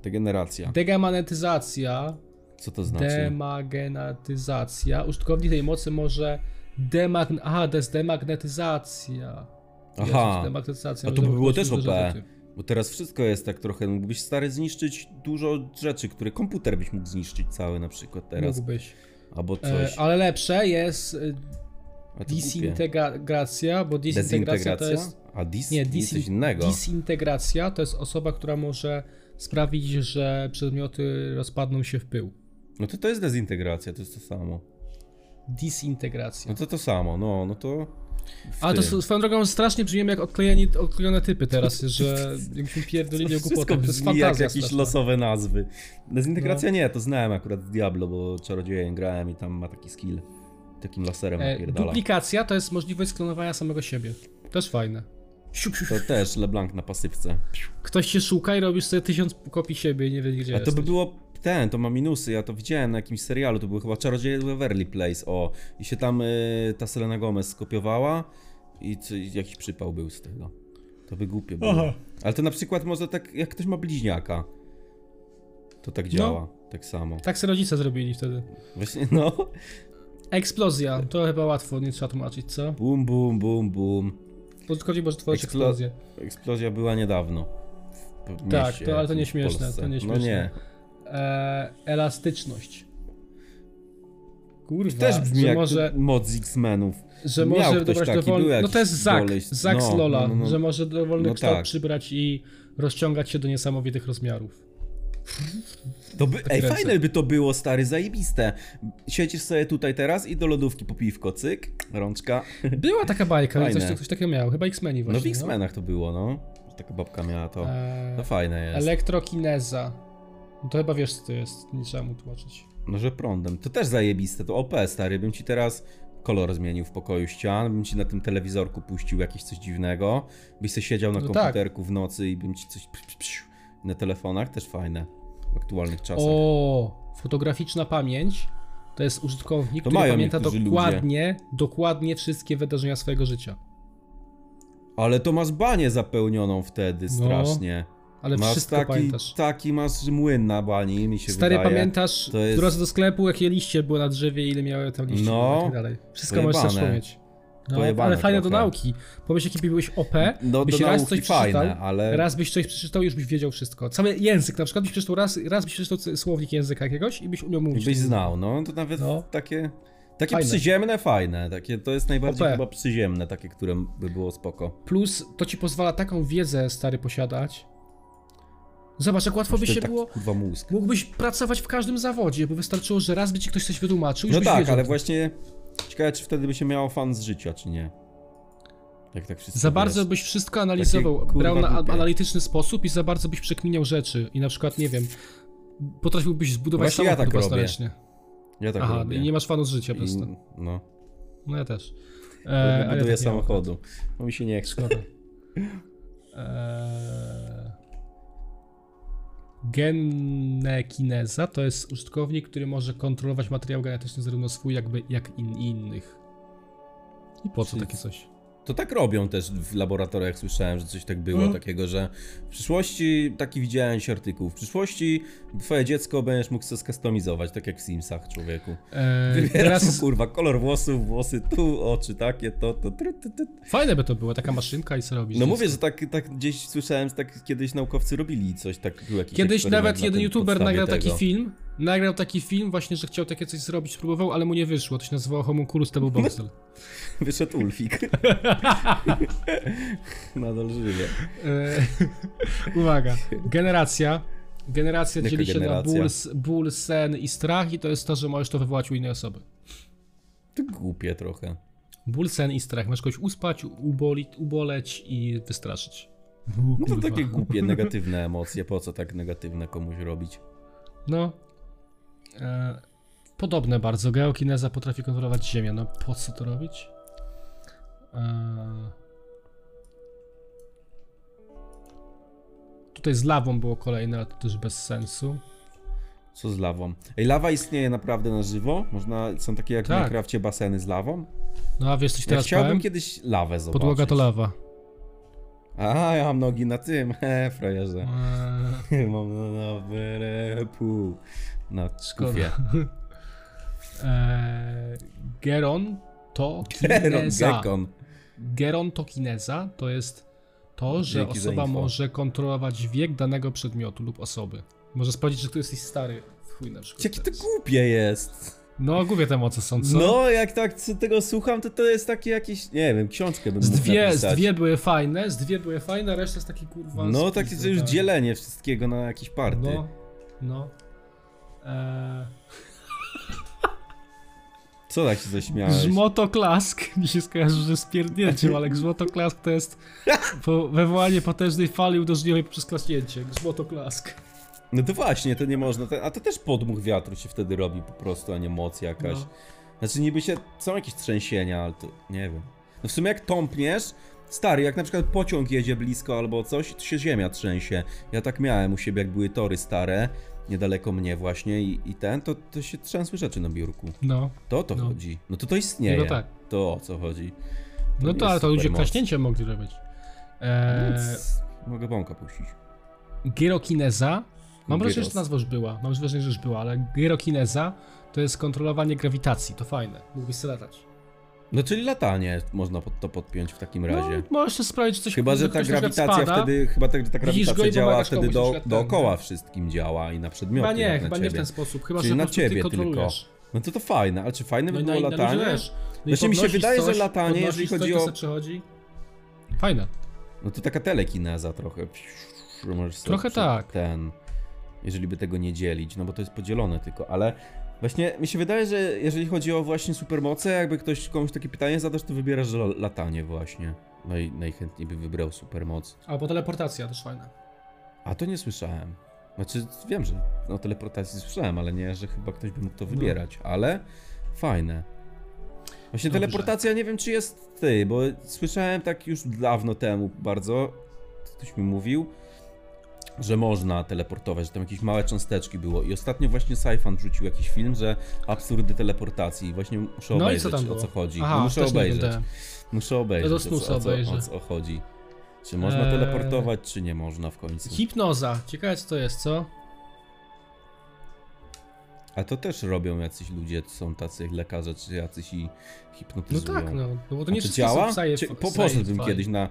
Degeneracja.
degamanetyzacja,
Co to znaczy?
demagenatyzacja. Użytkownik tej mocy może demagn... Aha, to jest demagnetyzacja.
Aha.
Jezus, demagnetyzacja.
A to
Można
by było
wchodzić
też
w
OP.
duże rzeczy.
Bo teraz wszystko jest tak trochę, mógłbyś stary zniszczyć dużo rzeczy, które komputer byś mógł zniszczyć cały na przykład teraz,
Mógłbyś.
albo
E,
coś.
ale lepsze jest e,
A to głupie.
Disintegracja, bo disintegracja to
Dezintegracja?
jest.
A dis...
Nie,
nie,
disin-
coś innego.
Disintegracja to jest osoba, która może sprawić, że przedmioty rozpadną się w pył.
No to to jest dezintegracja, to jest to samo.
Disintegracja.
No to to samo, no, no to... w
Ale to
tym.
s- swoją drogą strasznie brzmiemy jak odklejeni, odklejone typy teraz, że jakbyśmy pierdolili o
Wszystko
głupoty. To jest
brzmi jak
fantazja
jakieś
straszna. No.
losowe nazwy. Dezintegracja nie, to znałem akurat z Diablo, bo czarodziejem grałem i tam ma taki skill. Takim laserem
E,
napierdala.
duplikacja to jest możliwość sklonowania samego siebie. Też fajne. Siup, siup, siup.
To też LeBlanc na pasywce.
Ktoś się szuka i robisz sobie tysiąc kopii siebie i nie wiedziesz gdzie
A to by
jesteś.
było ten, to ma minusy, ja to widziałem na jakimś serialu, to były chyba Czarodzieje z Waverly Place, o. I się tam y, ta Selena Gomez skopiowała i, czy, i jakiś przypał był z tego. To by głupie było.
Aha.
Ale to na przykład może tak, jak ktoś ma bliźniaka, to tak
No.
działa, tak samo.
Tak sobie rodzice zrobili wtedy.
Właśnie, no.
Eksplozja, to chyba łatwo, nie trzeba tłumaczyć, co?
Bum, bum, bum, bum.
Użytkownik może tworzyć
Eksplo-
eksplozję.
Eksplozja była niedawno. w p-
Tak,
mieście
to- ale to
jakimś w
nieśmieszne, to
Polsce.
nieśmieszne.
No nie.
E, elastyczność. Kurwa,
Też brzmi
że
jak
może,
moc X-Menów.
że
Miał
może
ktoś
dobrać
taki, był
dowolny... No
jakiś
to jest Zak,
koleś.
Zak z
No,
Lola,
no, no.
że może dowolny
No
kształt
tak.
przybrać i rozciągać się do niesamowitych rozmiarów.
To by, ej,
ręce.
fajne by to było, stary, zajebiste. Siedzisz sobie tutaj teraz i do lodówki po piwko, cyk, rączka.
Była taka bajka,
Fajne.
coś, coś takiego miał, chyba X-Meni
No w
właśnie.
X-Menach to było, no. Taka babka miała to.
E,
To fajne jest.
elektrokineza. No to chyba wiesz co to jest, nie trzeba mu tłumaczyć.
No, że prądem. To też zajebiste, to OP, stary. Bym ci teraz kolor zmienił w pokoju ścian, bym ci na tym telewizorku puścił jakieś coś dziwnego, byś sobie siedział na
No tak.
komputerku w nocy i bym ci coś psz, psz, psz, na telefonach, też fajne w aktualnych czasach.
O, fotograficzna pamięć to jest użytkownik,
To
który
mają
pamięta
niektórzy
dokładnie, dokładnie wszystkie wydarzenia swojego życia.
Ale to masz banię zapełnioną wtedy
No.
strasznie.
Ale
masz
wszystko
taki,
pamiętasz.
taki masz młyn na bani, mi się
Stary,
wydaje.
pamiętasz,
to jest-
w drodze do sklepu, jakie liście były na drzewie, ile miały tam liście
No,
i tak dalej. Wszystko możesz
pojebane.
też mieć. No,
Pojebane
ale fajne do
trochę.
nauki. Pomyśl, jaki byłeś OP,
No,
byś
do
raz
nauki
coś
fajne,
przeczytał,
ale-
raz byś coś przeczytał i już byś wiedział wszystko. Cały język na przykład byś przeczytał raz, raz byś przeczytał c- słownik języka jakiegoś i byś umiał mówić.
Byś znał, no to nawet
No.
takie. Takie
Fajne.
przyziemne, fajne. Takie, to jest najbardziej
OP.
chyba przyziemne, takie, które by było spoko.
Plus to ci pozwala taką wiedzę, stary, posiadać. Zobacz, jak łatwo by
To
się
tak,
było...
kurwa mózg.
Mógłbyś pracować w każdym zawodzie, bo wystarczyło, że raz by ci ktoś coś wytłumaczył i
No
już byś
tak,
wiedział.
ale właśnie. Ciekawe, czy wtedy by się miało fan z życia, czy nie. Jak tak wszystko.
Za bardzo
jest.
byś wszystko analizował,
Takie, kurwa,
brał na
głupie.
analityczny sposób i za bardzo byś przekminiał rzeczy i na przykład, nie wiem, potrafiłbyś zbudować
Właśnie ja
samochód
tak robię.
własnoręcznie.
Ja tak
Aha,
robię.
i nie masz fanów z życia po
I-
prostu.
No.
No ja też. E,
Ja
ale
buduję
tak nie mam.
samochodu. Bo mi się nie chce.
Szkoda. Eee, Genekineza to jest użytkownik, który może kontrolować materiał genetyczny zarówno swój, jakby jak in, innych. I po co
Czyli-
takie coś?
To tak robią też w laboratoriach, słyszałem, że coś tak było
Mhm.
takiego, że w przyszłości, taki widziałem się artykuł, w przyszłości twoje dziecko będziesz mógł sobie skustomizować, tak jak w Simsach, człowieku.
Eee,
Wybierasz mu,
teraz
kurwa, kolor włosów, włosy tu, oczy takie, to, to, tru, tu, tu.
fajne by to było, taka maszynka i co robisz?
No mówię, że tak, tak gdzieś słyszałem, że tak kiedyś naukowcy robili coś, tak był jakiś
Kiedyś
eksperyment
nawet
na
jeden
tym
youtuber
podstawie
nagrał taki
tego.
film, nagrał taki film właśnie, że chciał takie coś zrobić, próbował, ale mu nie wyszło. To się nazywało Homunculus, to był boxel.
Wyszedł Ulfik. Nadal żyje.
E, Uwaga. Generacja. Generacja
Jaka
dzieli się
generacja?
na ból, s- ból, sen i strach i to jest to, że możesz to wywołać u innej osoby.
To głupie trochę.
Ból, sen i strach. Możesz kogoś uspać, ubolić, uboleć i wystraszyć.
No to
Kurwa.
takie głupie, negatywne emocje, po co tak negatywne komuś robić?
No. E, podobne bardzo. Geokineza potrafi kontrolować ziemię. No po co to robić? E, tutaj z lawą było kolejne, ale to też bez sensu.
Co z lawą? Ej, lawa istnieje naprawdę na żywo? Można, są takie jak w
Tak.
Minecrafcie baseny z lawą?
No a wiesz, coś
Ja
teraz
chciałbym
powiem?
kiedyś lawę zobaczyć.
Podłoga to lawa.
A, ja mam nogi na tym, he, frajerze.
Eee,
mam na nowy pół. Na kufie.
Szkoda. Eee, Geron to
Geron,
kineza.
gekon.
Geron to kineza to jest to, że
Dzięki za
osoba
info.
może kontrolować wiek danego przedmiotu lub osoby. Może sprawdzić, że ty jesteś stary. w Chuj na przykład.
Jakie to
teraz.
głupie jest.
No, głupie te moce są, co?
No, jak tak co tego słucham, to to jest takie jakieś, nie wiem, książkę bym
z,
mógł
dwie, z
napisać.
dwie były fajne, z dwie były fajne, reszta jest taki kurwa...
No,
spis,
takie że już
tak.
dzielenie wszystkiego na jakieś party.
No, no. Eee,
Co tak się zaśmiałeś?
Grzmotoklask, mi się skojarzy, że z pierdnięciem, ale grzmotoklask to jest po wywołanie potężnej fali uderzeniowej poprzez klaśnięcie. Grzmotoklask.
No to właśnie, to nie można. te- A to też podmuch wiatru się wtedy robi po prostu, a nie moc jakaś.
No.
Znaczy niby się są jakieś trzęsienia, ale to nie wiem. No w sumie jak tąpniesz, stary, jak na przykład pociąg jedzie blisko albo coś, to się ziemia trzęsie. Ja tak miałem u siebie, jak były tory stare, niedaleko mnie właśnie i, i ten, to, to się trzęsły rzeczy na biurku.
No,
To o to
No.
chodzi. No to to istnieje.
No tak.
To o co chodzi.
no
nie
to, ale
jest
to ludzie
supermoc.
klaśnięcie mogli robić. Eee,
Więc mogę bąka puścić.
gyrokineza. Mam wrażenie, że
Gyros.
ta nazwa już była. Mam wrażenie, że już była, ale gyrokineza to jest kontrolowanie grawitacji. To fajne. Mógłbyś sobie latać.
No czyli latanie można pod to podpiąć w takim
No,
razie.
możesz też sprawić, że coś
Chyba, że
ktoś
ta
na przykład
grawitacja
spada.
wtedy, chyba tak, ta, ta
Widzisz
grawitacja
go i
działa
pomagasz
wtedy
komuś, na
do,
przykład ten,
dookoła
nie?
wszystkim działa i na przedmioty.
Chyba nie,
jak na
chyba
ciebie.
nie w ten sposób. Chyba,
Czyli
że
na
po prostu ty
ciebie tylko.
kontrolujesz.
No to to fajne, ale czy fajne by było
No na- na
latanie?
ludzie, wiesz, no i
Właśnie mi się
podnosisz
wydaje, że
coś,
latanie, jeżeli
podnosisz
chodzi
coś, to
o-
se przechodzi. Fajne.
No to taka telekineza trochę. Psz, możesz sobie
Trochę
przed-
tak.
Ten, jeżeli by tego nie dzielić, no bo to jest podzielone tylko, ale właśnie mi się wydaje, że jeżeli chodzi o właśnie supermoce, jakby ktoś komuś takie pytanie zadasz, to wybierasz że la- latanie właśnie. No i najchętniej by wybrał supermoc.
Albo teleportacja też fajna.
A to nie słyszałem. Znaczy, wiem, że o teleportacji słyszałem, ale nie, że chyba ktoś by mógł
No.
to wybierać, ale fajne. Właśnie
Dobrze.
teleportacja nie wiem, czy jest ty, bo słyszałem tak już dawno temu bardzo, ktoś mi mówił, że można teleportować, że tam jakieś małe cząsteczki było. I ostatnio właśnie Syfan rzucił jakiś film, że absurdy teleportacji. Właśnie muszę
No i
obejrzeć,
co tam
o
było?
co chodzi.
Aha,
no, muszę
też nie
obejrzeć.
oglądałem.
Muszę obejrzeć,
do
o
snu
co, o, co,
obejrzę.
o co chodzi. Czy można
Eee.
teleportować, czy nie można w końcu?
Hipnoza. Ciekawe co to jest, co?
A to też robią jacyś ludzie, są tacy lekarze, czy jacyś i
No
hipnotyzują.
tak, no, no bo to
A
nie
czy
wszystko
działa?
są sci-
Czy, po,
sci-
poszedłbym
fi.
kiedyś na...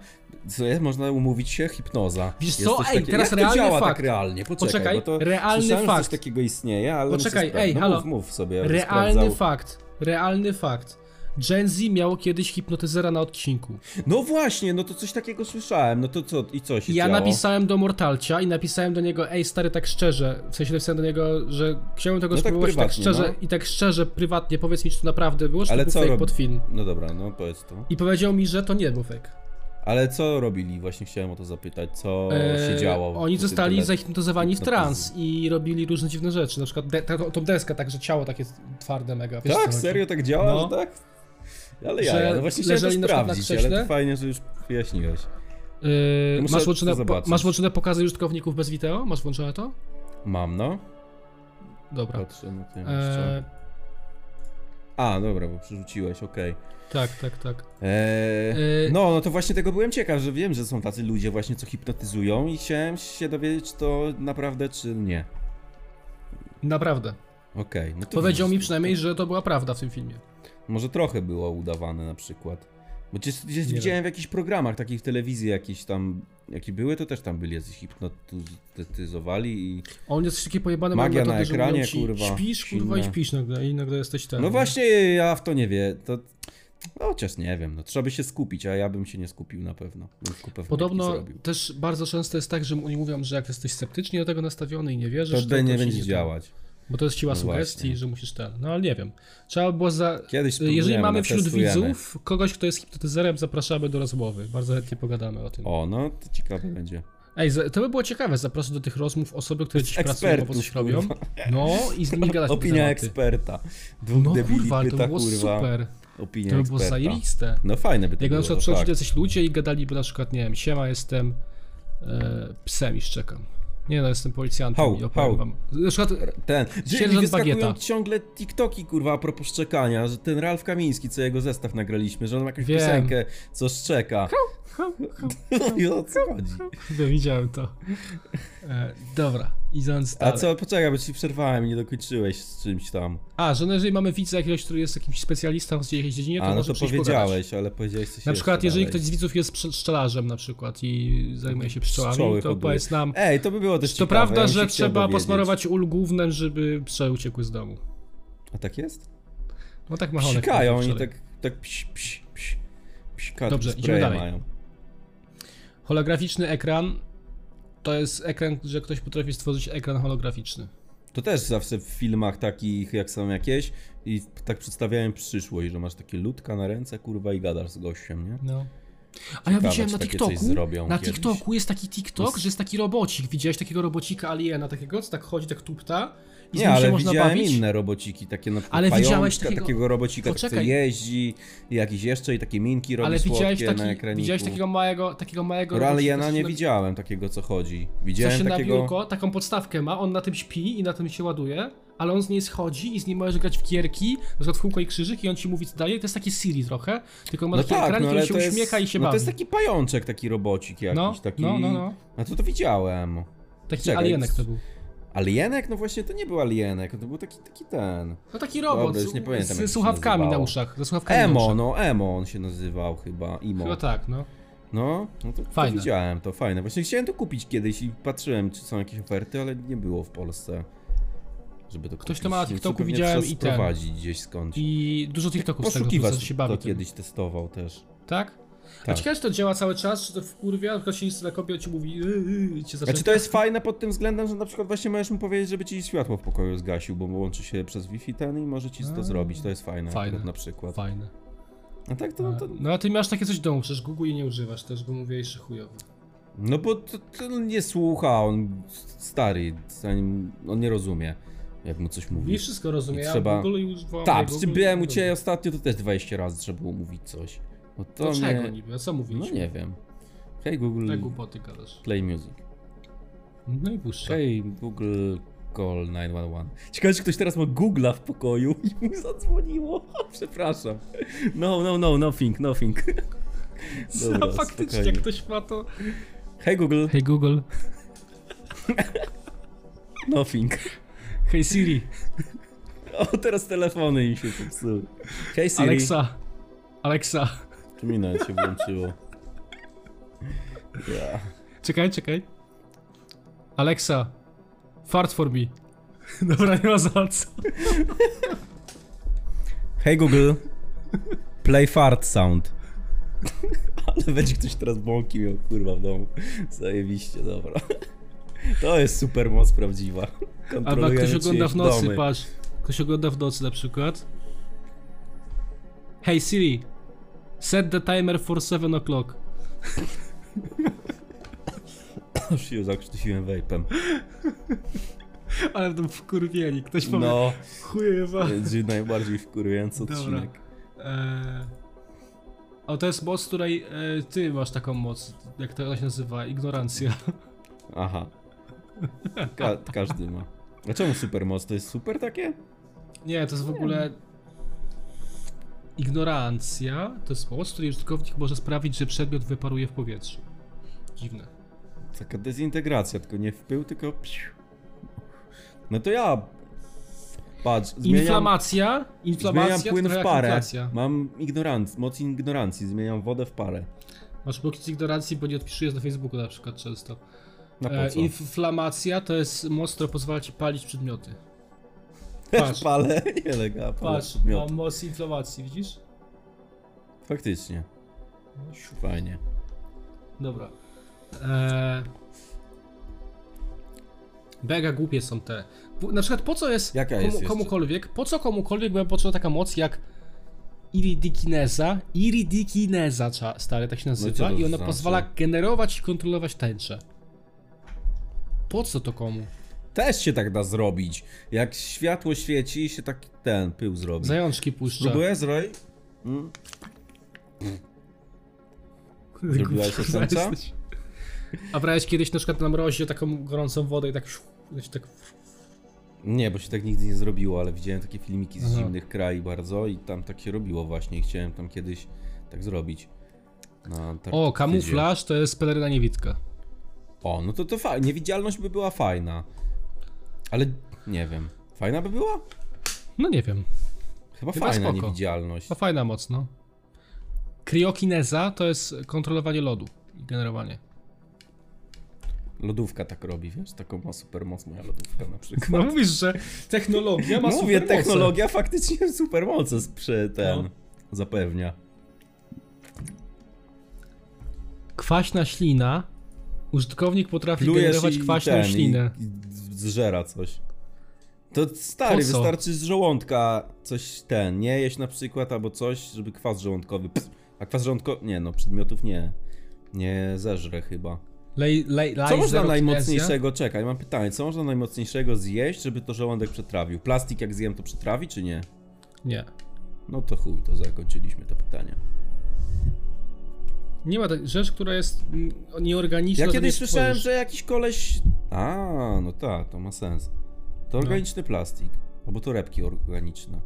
Co jest? Można umówić się? Hipnoza.
Wiesz
Jest
co?
coś
Ej, teraz
jak
realny
to działa
fakt.
tak realnie? Poczekaj,
Poczekaj,
bo to
realny
słyszałem, Że
fakt.
coś takiego istnieje, ale muszę
Poczekaj,
sprawdzić.
ej,
no,
halo.
Mów, mów sobie. będę
Realny
sprawdzał.
fakt, realny fakt. Gen Z miało kiedyś hipnotyzera na odcinku.
No właśnie, no to coś takiego słyszałem. No to co? I co się
ja
działo?
napisałem do Mortalcia i napisałem do niego, ej stary, tak szczerze, w sensie napisałem do niego, że chciałem tego
No tak
spróbować tak,
prywatnie,
szczerze
no.
i tak szczerze, prywatnie, powiedz mi, czy to naprawdę było, czy
Ale
to
co
był fake
robi-
pod film.
No dobra, no powiedz to.
I powiedział mi, że to nie był fake.
Ale co robili? Właśnie chciałem o to zapytać. Co się
Eee,
działo?
Oni
w tym No,
zostali
tyle-
zahipnotyzowani w
hipnotyzm.
trans i robili różne dziwne rzeczy, na przykład de- ta, tą deskę, tak, że ciało takie twarde mega. wiesz, co
Tak,
chodzi?
serio tak działa,
No.
że tak? Ale
Że
ja, no właśnie chciałem to
leżeli na przykład na
sprawdzić,
krześle?
ale to fajnie, że już wyjaśniłeś.
Yy,
Muszę
masz,
to
włączone, po,
zobaczyć.
masz włączone pokazy użytkowników bez wideo? Masz włączone to?
Mam, no.
Dobra.
Patrzę na tym
Eee,
jeszcze. A, dobra, bo przerzuciłeś, okej.
tak, tak, tak.
Eee,
Eee,
No, no to właśnie tego byłem ciekaw, że wiem, że są tacy ludzie właśnie, co hipnotyzują i chciałem się dowiedzieć, czy to naprawdę, czy nie.
Naprawdę.
Okej, no to
Powiedział mi
widzisz,
przynajmniej, że to była prawda w tym filmie.
Może trochę było udawane na przykład. Bo gdzieś, gdzieś
Nie
widziałem w jakichś programach, takich w telewizji jakieś tam, jakie były, to też tam byli jacyś hipnotyzowali i...
On jest takie pojebane
Magia
mam
na
metody, że
ekranie,
mówią ci,
kurwa,
Śpisz, kurwa, i
silne.
śpisz nagle, i nagle jesteś ten.
No
nie?
właśnie, ja w to nie wiem, to... No, chociaż nie wiem, no trzeba by się skupić, a ja bym się nie skupił na pewno. Bym kupę wpadki
Podobno
zrobił.
też bardzo często jest tak, że oni mówią, że jak jesteś sceptycznie do tego nastawiony i nie
To,
wierzysz,
to nie
ci
będzie
da.
działać.
Bo to jest siła
No
sugestii,
właśnie.
że musisz ten. No ale nie wiem. Trzeba było za. y,
Kiedyś
Jeżeli
spróbujemy, no,
mamy wśród
testujemy.
widzów kogoś, kto jest hipnotyzerem, zapraszamy do rozmowy. Bardzo chętnie pogadamy o tym.
O, no to ciekawe będzie.
Ej, za- to by było ciekawe, zapraszam do tych rozmów osoby, które dziś pracują albo coś
Ekspertów,
robią.
kurwa.
No i z nimi gadać na te
Opinia
tematy.
eksperta. Dwóch
No
debili
kurwa, ale to
pyta,
by było
kurwa.
super.
Opinia
To by było
eksperta.
zajebiste.
No fajne by to
Jakby na
było,
przykład przychodzili
tak.
jacyś ludzie i gadaliby na przykład, nie wiem, siema, jestem e, psem i szczekam. Nie no, jestem policjantem
Hał,
i opowiem
hał.
wam. Na przykład,
Ten.
Sierżant
Czyli wyskakują
Bagieta.
ciągle TikToki, kurwa, a propos szczekania, że ten Ralf Kamiński, co jego zestaw nagraliśmy, że on ma jakąś
Wiem.
piosenkę, co szczeka. I o co chodzi?
no, widziałem to. E, dobra, idąc
A
dalej.
co, poczekaj, bo ci przerwałem i nie dokończyłeś z czymś tam.
A, że no, jeżeli mamy widza jakiegoś, który jest jakimś specjalistą w jakiejś dziedzinie, to
A, no
może
to
przyjść pogadać.
powiedziałeś, ale powiedziałeś coś
Na przykład,
jeszcze
jeżeli
dalej.
ktoś z widzów jest psz- pszczelarzem na przykład i zajmuje się pszczołami,
Pszczoły
to
hoduje.
powiedz nam,
Ej, to by było też
czy to
ciekawe,
prawda,
ja bym
że
się chciał
trzeba
dowiedzieć.
posmarować ul głównym, żeby pszczoły uciekły z domu?
A tak jest?
No tak machonek.
Psikają
powiedział
i
wczoraj.
tak, tak psi, psi, psi. Psika,
Dobrze,
takie
idziemy
spraye
dalej.
Mają.
Holograficzny ekran to jest ekran, że ktoś potrafi stworzyć ekran holograficzny.
To też zawsze w filmach takich, jak są jakieś, i tak przedstawiałem przyszłość, że masz takie ludka na ręce, kurwa, i gadasz z gościem, nie?
No. A ja
Ciekawe,
widziałem
czy
na
takie
TikToku,
coś zrobią
na
kiedyś.
TikToku jest taki TikTok, że jest taki robocik. Widziałeś takiego robocika aliena takiego, co tak chodzi, tak tupta i z
Nie,
nim się
ale
można
widziałem
bawić?
inne robociki, takie na przykład
Ale
pajączka,
widziałeś takiego-
takiego... robocika, tak, co
Poczekaj.
jeździ, i jakiś jeszcze, i takie minki robi
Ale widziałeś,
słodkie na
taki,
ekraniku.
widziałeś takiego małego, takiego małego
No, ale ja
robocika,
na
co
nie
się
widziałem takiego, co chodzi.
Co
Widziałem
się na
takiego...
biurko, taką podstawkę ma, on na tym śpi i na tym się ładuje, ale on z niej schodzi i z niej możesz grać w gierki, na przykład w kółko i krzyżyk i on ci mówi co daje. To jest taki Siri trochę, tylko ma
No
taki ekran,
tak, no
który
ale
się
to jest...
uśmiecha i się
no,
bawi.
to jest taki pajączek, taki robocik jakiś,
no,
taki...
no, no, no.
A to to widziałem.
Taki
Czekaj,
alienek to był.
Alienek? No właśnie, to nie był alienek, to był taki, taki ten...
No taki robot
Dobra, już
z-
nie pamiętam, jak to
z
się
słuchawkami na
nazywało.
uszach. Ze słuchawkami na
Emo,
uszach.
no Emo on się nazywał chyba, Imo.
Chyba tak, no.
No, no to, to
Fajne.
widziałem, to fajne. Właśnie chciałem to kupić kiedyś i patrzyłem, czy są jakieś oferty, ale nie było w Polsce, żeby to
Ktoś
kupić.
to ma na
Więc
TikToku,
pewnie
widziałem
trzeba
i ten.
sprowadzić gdzieś skądś.
I dużo TikToków z tego,
Poszukiwać
co się bawi.
Tak to
tym.
kiedyś testował też.
Tak? A
Tak.
ciekawe, czy to działa cały czas, czy to wkurwia, tylko się na kopie ci mówi yy, yy, i cię zaczyna...
Znaczy to jest fajne pod tym względem, że na przykład właśnie możesz mu powiedzieć, żeby ci światło w pokoju zgasił, bo łączy się przez Wi-Fi ten i może ci
A.
to zrobić. To jest fajne,
Fajne.
akurat na przykład.
Fajne.
A tak to, to
No a ty masz takie coś w domu, przecież Google jej nie używasz też, bo mówiłeś, że chujowy.
No bo to, to nie słucha, on stary, zanim- on nie rozumie, jak mu coś
Mi
mówi.
wszystko rozumie,
I
ja
trzeba-
Google i używam
Tak,
Google
przy
i
byłem u
Google.
ciebie ostatnio, to też 20 razy trzeba było mówić coś. No to
To czego
nie...
niby, a co
No
mówiliśmy?
nie wiem. Hej Google,
Te głupoty gadasz.
play music.
No i puszczę.
Hej Google, call 911. Ciekawe, czy ktoś teraz ma Google'a w pokoju i mu zadzwoniło. Przepraszam. No, no, no, nothing, nothing.
no faktycznie,
spokojnie.
ktoś ma to...
Hej Google,
Hej Google.
nothing.
Hej Siri.
no O, teraz telefony im się popsuły. Hej Siri.
Alexa, Alexa,
Tu mi nawet się włączyło. Ja.
czekaj, czekaj. Alexa, fart for me. Dobra, nie ma za co.
Hej Google. Play fart sound. Ale będzie ktoś teraz bąki miał, kurwa, w domu. Zajebiście, dobra. To jest super moc prawdziwa.
Albo jak ktoś
Kontrolujemy
ogląda
czyjeś
w nocy,
domy.
patrz. Ktoś ogląda w nocy na przykład. Hey Siri, set the timer for 7 o'clock.
Aż się zakrztusiłem vapem.
Ale będą wkurwieni, ktoś powie, no.
No,
chujewa.
to jest najbardziej wkurwiający
Dobra.
odcinek.
Eee... O, to jest moc, której e, ty masz taką moc, jak to się nazywa, ignorancja.
Aha. Ka- każdy ma. A czemu supermoc? To jest super takie?
Nie, to jest w ogóle... Ignorancja to jest moc, której użytkownik może sprawić, że przedmiot wyparuje w powietrzu. Dziwne.
Taka dezintegracja, tylko nie w pył, tylko. psiu. No to ja. Patrz, zmieniam,
Inflamacja, inflamacja,
zmieniam płyn
trochę
w
jak
parę.
inflacja.
Mam ignoranc, moc ignorancji, zmieniam wodę w parę.
Masz bloki z ignorancji, bo nie odpisujesz na Facebooku na przykład często.
Na po
E,
co?
inflamacja to jest moc, która pozwala ci palić przedmioty. Patrz,
Palę, nie lega, palę
patrz,
przedmiot.
mam moc inflamacji, widzisz?
Faktycznie.
No,
Fajnie.
Dobra. E... Mega głupie są te. Po- Na przykład po co jest,
Jaka
komu,
jest jeszcze?
komukolwiek, po co komukolwiek była potrzebna taka moc jak iridikineza? Iridikineza, cza- stary, tak się nazywa.
to
I ona
znaczy?
pozwala generować i kontrolować tęczę. Po co to komu?
Też się tak da zrobić. Jak światło świeci, się tak ten pył zrobi.
Zajączki puszcza.
Próbuję zrobić. Zrobiłaś
Kurwa,
osemca?
jesteś. A brałeś kiedyś na przykład na mrozie taką gorącą wodę i tak... i tak
Nie, bo się tak nigdy nie zrobiło, ale widziałem takie filmiki z
Aha.
zimnych krajów bardzo i tam tak się robiło właśnie i chciałem tam kiedyś tak zrobić. Na Antarktydzie.
o, kamuflaż to jest peleryna niewidka.
O, no to to fajnie. Niewidzialność by była fajna. Ale nie wiem. Fajna by była?
No nie wiem.
Chyba
Chyba
fajna
spoko.
niewidzialność.
To fajna moc, no. Kriokineza to jest kontrolowanie lodu i generowanie.
Lodówka tak robi, wiesz? Taką ma supermoc moja lodówka na przykład.
No mówisz, że technologia ma
Mówię, technologia faktycznie supermoce sprze ten
No.
zapewnia.
Kwaśna ślina. Użytkownik potrafi generować
i-
kwaśną
ten, i-
ślinę.
I, zżera coś. To stary,
Po co?
wystarczy z żołądka coś ten, nie jeść na przykład albo coś, żeby kwas żołądkowy. Pst, a kwas żołądkowy. Nie no, przedmiotów nie. Nie zeżre chyba.
Lej, lej,
Co można
lajzerokinezja?
najmocniejszego? Czekaj, mam pytanie. Co można najmocniejszego zjeść, żeby to żołądek przetrawił? Plastik jak zjem to przetrawi, czy nie?
Nie.
No to chuj, to zakończyliśmy to pytanie.
Nie ma tak. Rzecz, która jest mm, nieorganiczna.
Ja
to
kiedyś
nie
słyszałem,
stworzysz.
że jakiś koleś. A, no tak, to ma sens. To organiczny plastik. Albo torebki organiczne.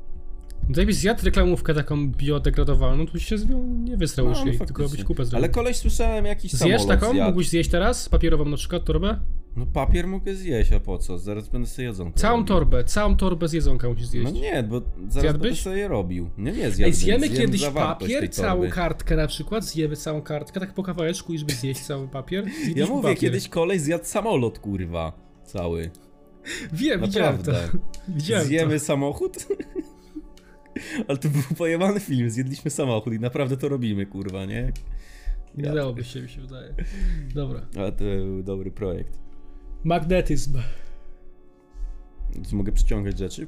No jakbyś zjadł reklamówkę taką biodegradowalną, to byś się z nią nie wysrał już
no
jej,
faktycznie.
tylko byś kupę zrobił.
Ale koleś słyszałem jakiś
Zjesz
samolot
taką?
zjadł.
Mógłbyś zjeść teraz? Papierową na przykład torbę?
No papier mogę zjeść, a po co? Zaraz będę sobie jedzonko
Całą
robił.
torbę, całą torbę z jedzonka musisz zjeść.
No nie, bo zaraz
Zjadłbyś?
będę sobie robił. Nie, nie zjadłem.
Ej, zjemy
zjem
kiedyś
zawartość tej
papier, całą
torby.
kartkę na przykład, zjemy całą kartkę, tak po kawałeczku i żeby zjeść cały papier.
Ja
zjedliśmy
mówię,
papier.
kiedyś koleś zjadł samolot, kurwa. Cały.
Wiem, widziałem to.
Naprawdę.
Widziałem
Zjemy samochód? Ale to był pojemany film, zjedliśmy samochód i naprawdę to robimy, kurwa, nie?
to. Nie dałoby się, mi się wydaje. Dobra.
A to był dobry projekt.
Magnetyzm.
Czy Mogę przyciągać rzeczy?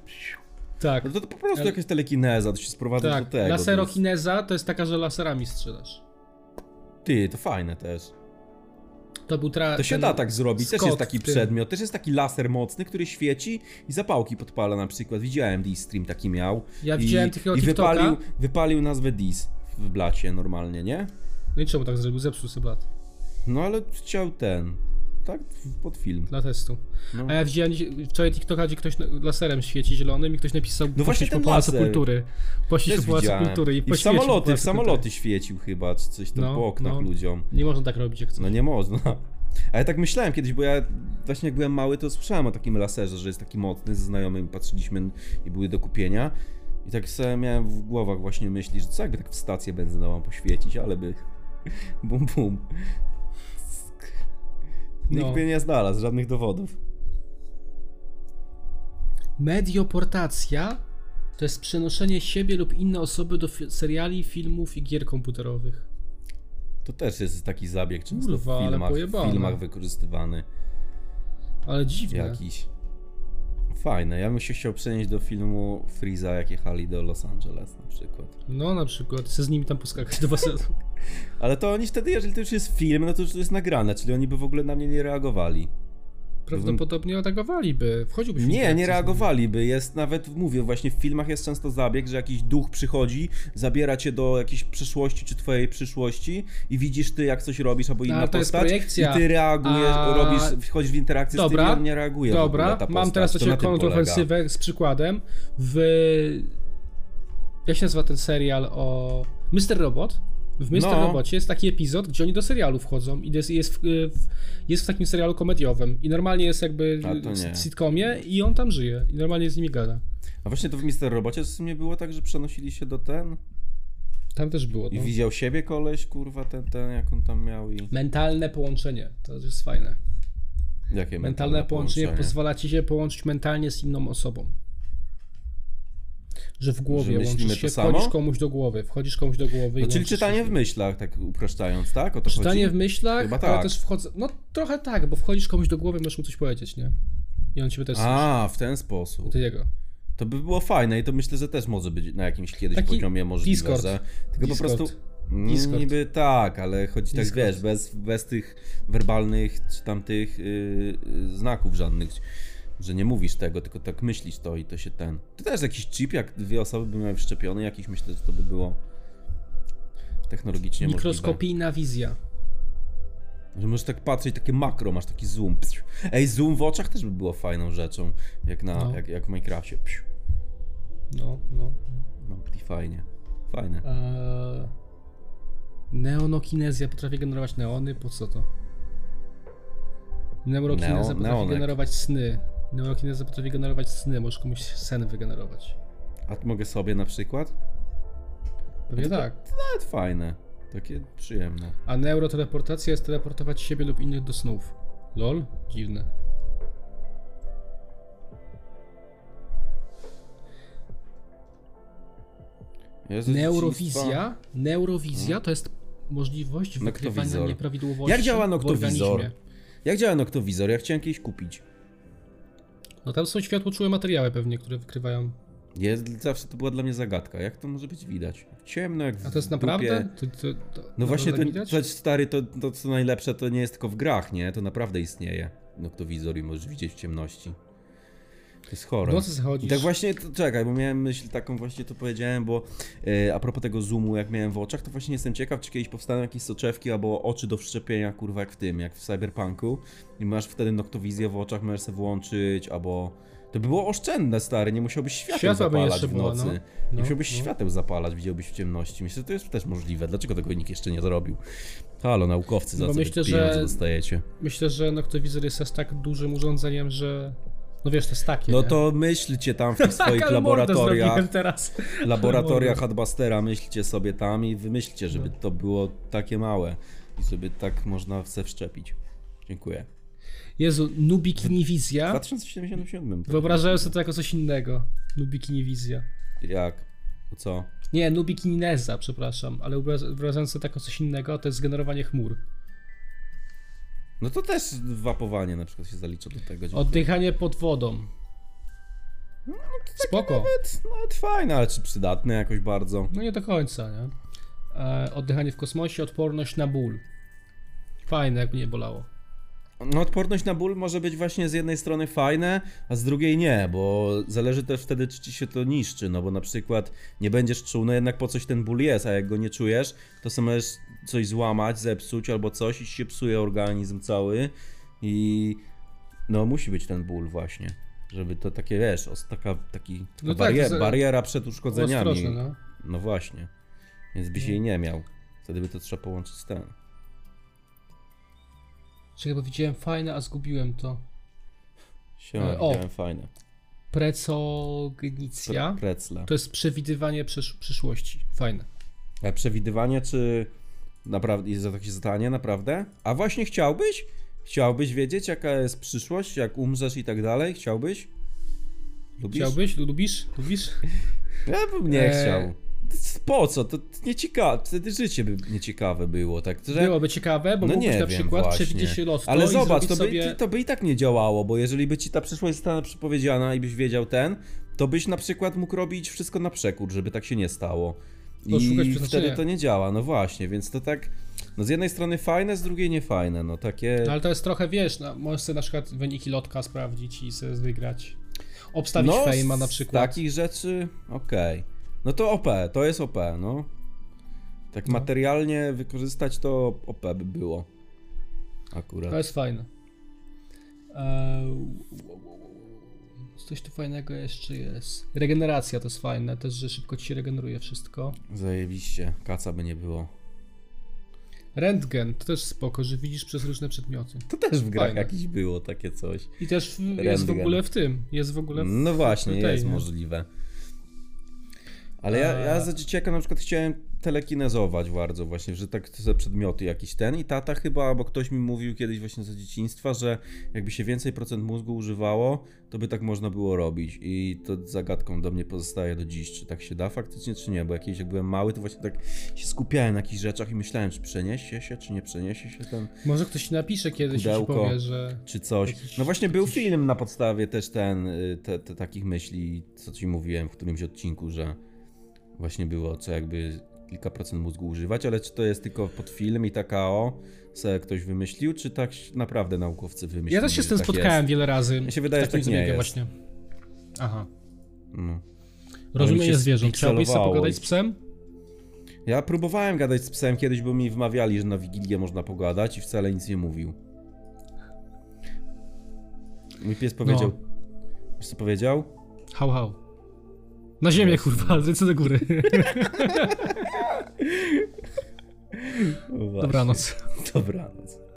Tak.
No to, to po prostu
Ale-
jakaś telekineza, to się sprowadza do
Tak,
tego. to
laserokineza to jest taka, że laserami strzelasz.
jest- Ty, to fajne też.
To był tra...
To się
ten
da tak zrobić, też
Scott
jest taki
w tym.
przedmiot, też jest taki laser mocny, który świeci i zapałki podpala na przykład. Widziałem D-Stream taki miał.
Ja
I,
widziałem takiego
I
TikToka.
wypalił, wypalił nazwę Dis w blacie normalnie, nie?
No i czemu tak zrobił? Zepsuł sobie blat.
No ale chciał ten. Tak, w- pod film.
Dla testu.
No.
A ja widziałem dzisiaj- wczoraj TikToka, gdzie ktoś na- laserem świeci zielonym i ktoś napisał
No właśnie
poświeć po
ten
Pałacu
laser.
Kultury. Poświeć
Też
po Pałacu
widziałem.
Kultury i
I w
poświecił po
samoloty, w
Pałacu Kultury.
samoloty świecił chyba, czy coś tam
No,
po oknach
no.
ludziom.
Nie można tak robić jak chcesz.
No nie można. Ale tak myślałem kiedyś, bo ja właśnie jak byłem mały, to słyszałem o takim laserze, że jest taki mocny, ze znajomym patrzyliśmy i były do kupienia. I tak sobie miałem w głowach właśnie myśli, że co jakby tak w stację benzynową poświecić, ale by... Bum, bum. Nikt
No.
by nie znalazł żadnych dowodów.
Medioportacja to jest przenoszenie siebie lub inne osoby do fi- seriali, filmów i gier komputerowych.
To też jest taki zabieg często
Kurwa,
w
ale
filmach, w
pojebane.
filmach wykorzystywany
Ale dziwne.
jakiś. Fajne, ja bym się chciał przenieść do filmu Freeza, jak jechali do Los Angeles na przykład.
No na przykład, chcę z nimi tam poskakać do basenu.
Ale to oni wtedy, jeżeli to już jest film, no to już to jest nagrane, czyli oni by w ogóle na mnie nie reagowali.
Prawdopodobnie atakowaliby. Wchodziłbyś w
Nie,
interakcję
nie
z nimi.
reagowaliby. Jest nawet, mówię, właśnie w filmach jest często zabieg, że jakiś duch przychodzi, zabiera cię do jakiejś przeszłości czy twojej przyszłości i widzisz ty, jak coś robisz albo
No,
inna
ale to jest
postać
projekcja.
i ty reagujesz,
A-
robisz, wchodzisz w interakcję z tym
Dobra,
i on nie reaguje. w ogóle,
Dobra,
ta
mam
postać.
teraz do
To
ciebie
na tym polega.
kontrofensywę z przykładem. W... Jak się nazywa ten serial o... Mr. Robot? W Mr.
No.
Robocie jest taki epizod, gdzie oni do serialu wchodzą i jest, jest, w, w, jest w takim serialu komediowym i normalnie jest jakby
A to nie.
w sitcomie i on tam żyje i normalnie z nimi gada.
A właśnie to w Mister Robocie z tym nie było tak, że przenosili się do ten
Tam też było.
i
No.
widział siebie koleś, kurwa, ten, ten, jak on tam miał i...
Mentalne połączenie, to jest fajne.
Jakie
Mentalne połączenie, pozwala ci się połączyć mentalnie z inną osobą. Że w głowie
myślimy
łączysz
to
się,
samo?
wchodzisz komuś do głowy, wchodzisz komuś do głowy
No,
i
czyli
łączysz
czytanie
się.
w myślach, tak upraszczając, tak? O to
Czytanie w
chodzi?
myślach,
Chyba
ale
tak.
też wchodzę. No trochę tak, bo wchodzisz komuś do głowy, możesz mu coś powiedzieć, nie? I on ciebie też słyszy.
A, w ten sposób.
Ty jego.
To by było fajne i to myślę, że też może być na jakimś kiedyś
Taki
poziomie możliwe,
Discord.
że... Tylko
Discord.
po prostu... Mm,
Discord.
Niby tak, ale chodzi tak,
Discord.
wiesz, bez, bez tych werbalnych czy tam tych yy, yy, znaków żadnych, że nie mówisz tego, tylko tak myślisz to i to się ten... To też jakiś chip, jak dwie osoby by miały wszczepiony jakiś, myślę, że to by było technologicznie możliwe.
Mikroskopijna wizja.
Że możesz tak patrzeć, takie makro, masz taki zoom. Psiu. Ej, zoom w oczach też by było fajną rzeczą, jak, na,
No.
jak, jak w Minecrafcie. Psiu.
No, no.
No, i fajnie. Fajne.
Eee... Neonokinezja potrafi generować neony, po co to? Neurokineza
Neo-
potrafi
neonek.
generować sny. Neurokineza potrafi generować sny, możesz komuś sen wygenerować.
A to mogę sobie na przykład?
Pewnie tak.
Nawet fajne. Takie przyjemne.
A neuroteleportacja jest teleportować siebie lub innych do snów. Lol? Dziwne.
Jezu, dzieciństwa.
Neurowizja, neurowizja to jest możliwość wykrywania
Mm. Noktowizor.
nieprawidłowości
Jak działa
w organizmie.
noktowizor? Jak działa noktowizor? Ja chciałem kiedyś kupić.
No tam są światłoczułe materiały pewnie, które wykrywają.
Jest, zawsze to była dla mnie zagadka. Jak to może być widać? Ciemno, jak w
A to jest
dupie.
naprawdę? To, to, to
No właśnie,
to
to, to stary, to, to co najlepsze, to nie jest tylko w grach, nie? To naprawdę istnieje. No Noktowizor i możesz widzieć w ciemności. To jest chore.
W nocy No, zachodzisz.
I tak właśnie, to, czekaj, bo miałem myśl taką, właśnie to powiedziałem, bo e, a propos tego zoomu, jak miałem w oczach, to właśnie jestem ciekaw, czy kiedyś powstaną jakieś soczewki albo oczy do wszczepienia, kurwa, jak w tym, jak w Cyberpunku. I masz wtedy noktowizję w oczach, możesz sobie włączyć, albo... To by było oszczędne, stary, nie musiałbyś świateł
Światła by
zapalać
jeszcze
w
było,
nocy.
no.
nie
No,
musiałbyś
no.
świateł zapalać, widziałbyś w ciemności. Myślę, że to jest też możliwe. Dlaczego tego nikt jeszcze nie zrobił? Halo, naukowcy, za
No bo
co
myślę,
wy pieniądze
że-
dostajecie?
Myślę, że noktowizor jest aż tak dużym urządzeniem, że. No wiesz, to jest takie.
No
nie?
to myślcie tam w tych swoich
ale mordę
laboratoriach.
zrobiłem teraz.
laboratoria
Mordo.
Hadbustera, myślcie sobie tam i wymyślcie, żeby
No.
to było takie małe i sobie tak można se wszczepić. Dziękuję.
Jezu,
W
nubikiniwizja.
2077.
Wyobrażałem sobie to jako coś innego. Nubikiniwizja.
Jak? To Co?
Nie, nubikineza, przepraszam, ale wyobra- wyobrażałem sobie taką coś innego, to jest generowanie chmur.
No to też wapowanie na przykład się zalicza do tego. dziękuję.
Oddychanie pod wodą. Spoko.
No, Nawet, nawet fajne, ale czy przydatne jakoś bardzo?
No nie do końca, nie? E, oddychanie w kosmosie, odporność na ból. Fajne, jakby nie bolało.
No, odporność na ból może być właśnie z jednej strony fajne, a z drugiej nie, bo zależy też wtedy, czy ci się to niszczy, no bo na przykład nie będziesz czuł, no jednak po coś ten ból jest, a jak go nie czujesz, to sobie możesz coś złamać, zepsuć albo coś i ci się psuje organizm cały i no musi być ten ból właśnie, żeby to takie, wiesz, os- taka, taki, taka
No tak,
barier,
to za-
bariera przed uszkodzeniami.
Ostrożne, no.
No właśnie. Więc byś jej nie miał. Wtedy by to trzeba połączyć z tym.
Czekaj, bo widziałem fajne, a zgubiłem to.
Siema,
E, O.
widziałem fajne.
Precognicja.
Precle.
To jest przewidywanie przysz- przyszłości. Fajne.
E, Przewidywanie, czy naprawdę jest za takie zdanie, naprawdę? A właśnie chciałbyś? Chciałbyś wiedzieć, jaka jest przyszłość, jak umrzesz i tak dalej? Chciałbyś? Lubisz?
Chciałbyś? Lubisz? Lubisz?
Ja bym nie
E,
chciał. Po co? To nieciekawe. Wtedy życie by nieciekawe było, tak? Że...
Byłoby ciekawe, bo
no
mógłbyś
nie
na
wiem
przykład
właśnie.
przewidzieć lotto
Ale
i
zobacz,
zrobić
to by,
sobie...
to by i tak nie działało, bo jeżeli by ci ta przyszłość została przepowiedziana i byś wiedział ten, to byś na przykład mógł robić wszystko na przekór, żeby tak się nie stało.
To No, szukać
I wtedy
przeznaczenia.
to nie działa, no właśnie, więc to tak, no z jednej strony fajne, z drugiej nie fajne, no takie...
No ale to jest trochę, wiesz, no, możesz sobie na przykład wyniki lotka sprawdzić i sobie wygrać. Obstawić
no,
fejma na
z
przykład.
takich rzeczy, okej. No to OP, to jest OP, no. Tak
No.
materialnie wykorzystać to OP by było. Akurat.
To jest fajne. Eee, Coś tu fajnego jeszcze jest. Regeneracja to jest fajne, też, że szybko ci się regeneruje wszystko.
Zajebiście, kaca by nie było.
Rentgen to też spoko, że widzisz przez różne przedmioty.
To też w grach
Fajne.
jakiś było takie coś.
I też w, jest w
Rentgen.
ogóle w tym. Jest w ogóle w
No właśnie,
tej,
jest
nie?
możliwe. Ale ja, ja za dzieciaka na przykład chciałem telekinezować bardzo właśnie, że tak te przedmioty jakiś ten i tata chyba, bo ktoś mi mówił kiedyś właśnie za dzieciństwa, że jakby się więcej procent mózgu używało, to by tak można było robić i to zagadką do mnie pozostaje do dziś, czy tak się da faktycznie, czy nie, bo jakieś jak byłem mały, to właśnie tak się skupiałem na jakichś rzeczach i myślałem, czy przeniesie się, czy nie przeniesie się ten...
Może ktoś ci napisze kiedyś i ci
Pudełko.
powie, że.
czy coś. No właśnie był film na podstawie też ten, y, te, te, takich myśli, co ci mówiłem w którymś odcinku, że właśnie było co jakby kilka procent mózgu używać, ale czy to jest tylko pod film i taka o, se ktoś wymyślił, czy tak naprawdę naukowcy wymyślili?
Ja też się z
że
tym
tak
spotkałem
Jest?
wiele razy.
Mi się wydaje,
z takim
że tak nie
zabiegiem
jest.
właśnie. Aha.
No. mi
Rozumienie
się
zwierząt. Chciałbyś sobie
spikselowało
pogadać
i-
z psem?
Ja próbowałem gadać z psem kiedyś, bo mi wmawiali, że na Wigilię można pogadać i wcale nic nie mówił. Mój pies powiedział...
No.
Wiesz co powiedział?
Hał, hał. Na ziemię, kurwa, zlecę do góry.
Właśnie.
Dobranoc.
Dobranoc.